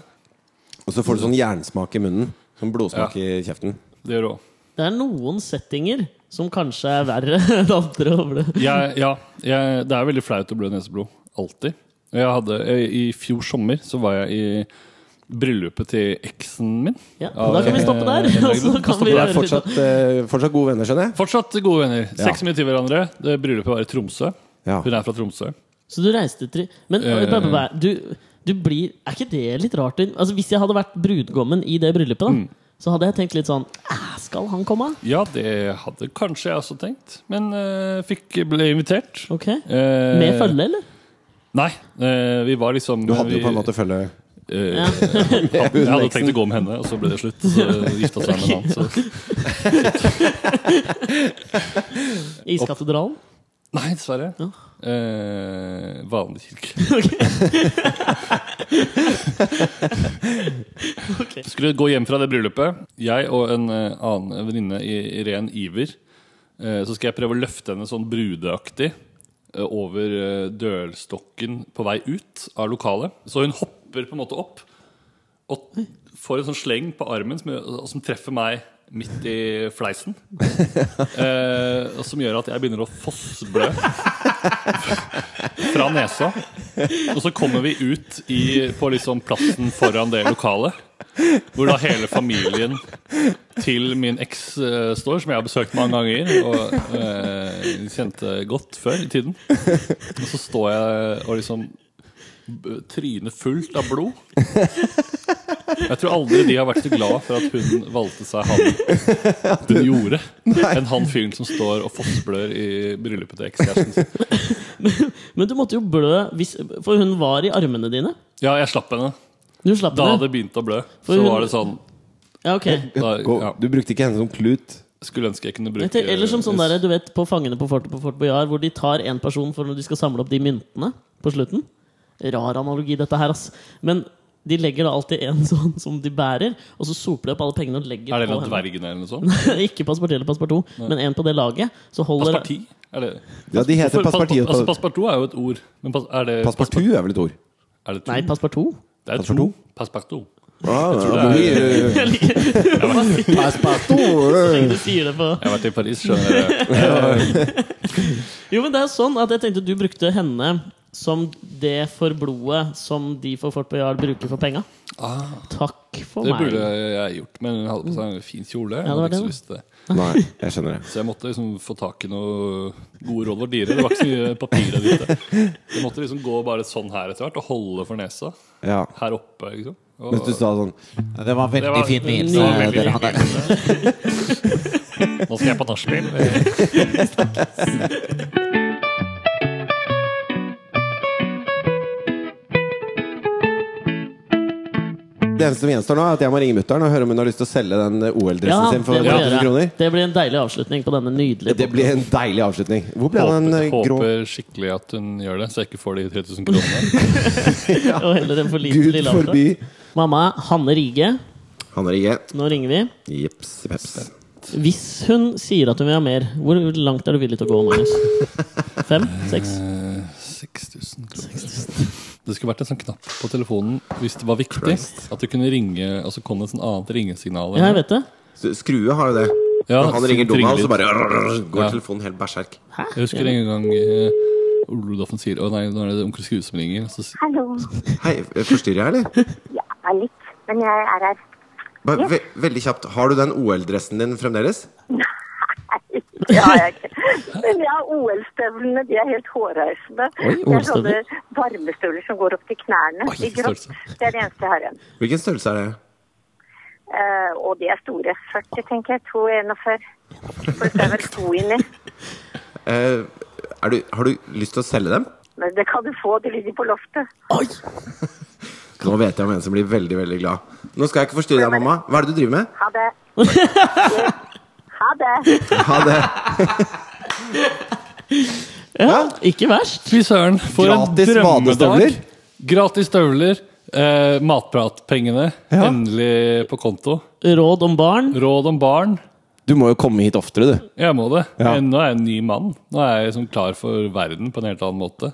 S1: Og så får du sånn jernsmak i munnen. Sånn blodsmak i kjeften.
S2: Det gjør du òg.
S3: Det er noen settinger som kanskje er verre enn andre. å blø.
S2: jeg, ja, jeg, det er veldig flaut å blø neseblod. Alltid. Og Jeg hadde, jeg, I fjor sommer så var jeg i bryllupet til eksen min.
S3: Ja,
S2: Av,
S3: da kan vi stoppe der.
S2: eh, en dag.
S3: og så kan
S2: Stoppe
S3: vi
S1: Det
S2: der.
S1: er fortsatt, eh, fortsatt gode venner, skjønner jeg.
S2: Fortsatt gode venner.
S1: Ja.
S2: Seks minutter til hverandre. Det Bryllupet var i Tromsø.
S1: Ja.
S2: Hun er fra Tromsø.
S3: Så du reiste til Men
S2: Eh.
S3: bare, bare, bare, du, du blir Er
S2: Mm.
S3: ikke det litt rart? Altså, hvis jeg hadde vært brudgommen i det bryllupet, da, så hadde jeg tenkt litt sånn "Æ, skal han komme?
S2: Ja, det hadde kanskje jeg også tenkt. Men eh, fikk, ble invitert.
S3: Ok
S2: Eh,
S3: Med følge, eller?
S2: Nei. eh, vi var liksom
S1: Du hadde jo
S2: vi-
S1: på en måte følge
S2: eh,
S3: Ja.
S2: Jeg hadde tenkt å gå med henne, og så ble det slutt. Så gifta seg med en annen. Så.
S3: Iskatedralen?
S2: Nei, dessverre.
S3: Ja.
S2: Eh, vanlig kirke. Skulle gå hjem fra det bryllupet. Jeg og en eh, annen venninne i i ren iver. Eh, så skal jeg prøve å løfte henne sånn brudeaktig eh, over eh, dørstokken på vei ut av lokalet. Så hun hopper på en måte opp og får en sånn sleng på armen som, gjør- som treffer meg midt i fleisen. Eh, og som gjør at jeg begynner å fossblø fra nesa. Og så kommer vi ut i, på liksom plassen foran det lokalet, hvor da hele familien til min eks eh, står, som jeg har besøkt mange ganger og eh, kjente godt før i tiden. Og så står jeg og liksom b- Trynet fullt av blod. Jeg tror aldri de har vært så glad for at hun valgte seg han hun gjorde, enn han fyren som står og fossblør i bryllupet til ekskjæresten sin.
S3: Men du måtte jo blø, hvis, for hun var i armene dine.
S2: Ja, jeg slapp henne.
S3: Du slapp
S2: Da
S3: henne.
S2: det begynte å blø,
S3: For
S2: så
S3: hun-
S2: var det sånn
S3: Ja, ok
S2: da,
S1: Gå-
S2: ja,
S1: Du brukte ikke henne som klut?
S2: Skulle ønske jeg kunne bruke
S3: Etter, eller som sånn der, du vet, på Fangene på fortet på Fort Boyard, hvor de tar én person for når de skal samle opp de myntene på slutten. Rar analogi, dette her, ass. Men de legger da alltid en sånn som de bærer, og så soper de opp alle pengene og legger
S2: Er det
S3: på
S2: en av
S3: henne.
S2: dvergene eller noe sånt?
S3: Ikke Passepartout eller Passepartout, men en på det laget. Så holder
S2: Passeparti? Er det
S1: Ja, de heter
S2: Hvorfor-
S1: Passepartout.
S2: Altså, Passepartout er jo et ord. Men pass, er det
S1: Passepartout er vel et ord?
S2: Er det to?
S3: Nei, Passepartout.
S2: det er to.
S1: Passepartout?
S2: Passepartout.
S1: Ah,
S2: det
S1: ja,
S3: Jeg liker så lenge
S1: Passepartout!
S3: du sier det på
S2: Jeg har vært i Paris, skjønner dere.
S3: Jo, men det er sånn at jeg tenkte du brukte henne som det for blodet som de for Fort Boyard bruker for penga.
S1: Ah.
S3: Takk for
S2: Det
S3: meg.
S2: burde jeg gjort, men hun hadde på seg en fin kjole.
S3: Ja, det
S2: jeg
S3: var
S2: hadde ikke
S3: det,
S2: så lyst til det.
S1: Nei, jeg skjønner det.
S2: Så jeg måtte liksom få tak i noe gode råd for dyre. Det var ikke så mye papir der ute. Jeg måtte liksom gå bare sånn her etter hvert og holde for nesa.
S1: Ja.
S2: Her oppe, liksom. Og-
S1: Mens du sa sånn
S6: Det var
S2: Det
S6: veldig
S2: var-
S6: fint med
S2: det
S6: hilsen.
S2: var veldig
S6: dere
S2: fint
S6: hadde.
S2: Nå skal jeg på nachspiel.
S1: Det eneste som gjenstår nå, er at jeg må ringe mutter'n og høre om hun har lyst til å selge den OL-dressen
S3: Ja, det
S1: sin for
S3: må vi
S1: 1000
S3: gjøre.
S1: kroner.
S3: Det blir en deilig avslutning på denne nydelige
S1: Det blir en deilig avslutning. Hvor ble den eh,
S2: Håper,
S1: grå
S2: håper skikkelig at hun gjør det, så jeg ikke får de 3000 kronene.
S3: podcasten, Og heller en for liten
S1: Gud
S3: lille
S1: forby!
S3: avslutning. Mamma, Hanne Rige,
S1: Han er ikke
S3: nå ringer vi.
S1: Jips, jips.
S3: Hvis hun sier at hun vil ha mer, hvor langt er du villig til å gå, Magnus? Fem? Seks?
S2: Eh, 6000 kroner. Det skulle vært en sånn knapp på telefonen hvis det var viktig. At du kunne ringe, og så kom det et sånn annet ringesignal.
S3: Ja, jeg vet det.
S1: Så Skrue har jo det.
S2: Ja,
S1: Når han
S2: så
S1: ringer Donald,
S2: trynger
S1: så bare går
S2: Ja.
S1: telefonen helt berserk.
S3: Hæ?
S2: Jeg husker en gang eh, Ole Olafsen sier 'Å nei, nå er det onkel Skrue som ringer'. og Så, sier-
S5: Hallo.
S1: Hei, eh, forstyrrer jeg, eller?
S5: Ja, litt. Men jeg er her.
S1: Bare ve veldig kjapt, har du den OL-dressen din fremdeles?
S5: Ja, jeg, men jeg har OL-støvlene. De er helt hårreisende. Det er sånne
S3: OL-støvler.
S5: varmestøvler som går opp til knærne i grått. Det er det eneste jeg har igjen.
S1: Hvilken størrelse er det?
S5: Eh, og de er store. 40, tenker jeg. 2,41. For det er vel to inni.
S1: Eh, er du, har du lyst til å selge dem?
S5: Men det kan du få. De ligger på loftet.
S1: Nå vet jeg om en som blir veldig, veldig glad. Nå skal jeg ikke forstyrre deg, mamma. Hva er det du driver med?
S5: Ha det. Ha det.
S1: Ha det.
S3: Ja, ikke verst.
S2: Fy søren, for
S1: Gratis
S2: en drømmedag!
S1: vadestøvler.
S2: Gratis støvler. Eh, matpratpengene endelig på konto.
S3: Råd om barn.
S2: Råd om barn.
S1: Du må jo komme hit oftere, du.
S2: Jeg må det.
S1: Ja.
S2: Nå er jeg en ny mann. Nå er jeg liksom klar for verden på en helt annen måte.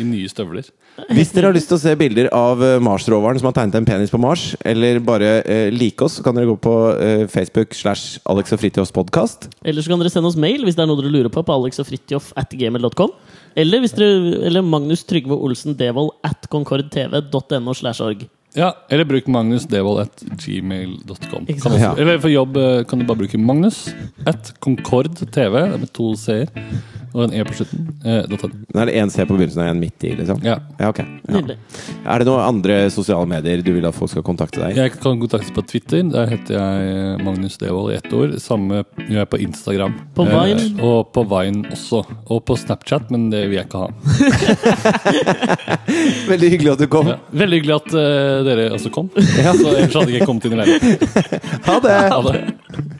S2: I nye støvler.
S1: Hvis dere har lyst til å se bilder av eh, Mars-roveren som har tegnet en penis på Mars, eller bare eh, like oss, så kan dere gå på eh, Facebook slash Alex og Fritjofs podkast.
S3: Eller så kan dere sende oss mail hvis det er noe dere lurer på, på alexogfritjof.gmail.com. Eller, hvis dere- eller Magnus Trygve Olsen Devold at concordtv.no. slash org.
S2: Ja, eller bruk Magnus Devold at gmail.com.
S3: Ikke
S2: Kan
S3: sant?
S2: også- Eller for jobb eh, kan du bare bruke Magnus at Concord TV, det er med to c-er, Og en E på slutten. Eh, dot .no.
S1: Nå er det én C på begynnelsen og én midt i, liksom?
S2: Ja.
S1: ok. Ja.
S3: Nydelig.
S1: Er det noen andre sosiale medier du vil at folk skal kontakte deg?
S2: Jeg kan kontaktes på Twitter. Der heter jeg eh, Magnus Devold i ett ord. Samme gjør jeg på Instagram.
S3: På Vine?
S2: Eh, og på Vine også. Og på Snapchat, men det vil jeg ikke ha.
S1: Veldig hyggelig at du kom.
S2: Veldig hyggelig at eh, dere også kom.
S1: Ja.
S2: Så ellers hadde jeg ikke kommet inn i leiligheten.
S1: Ha det!
S2: Ha det.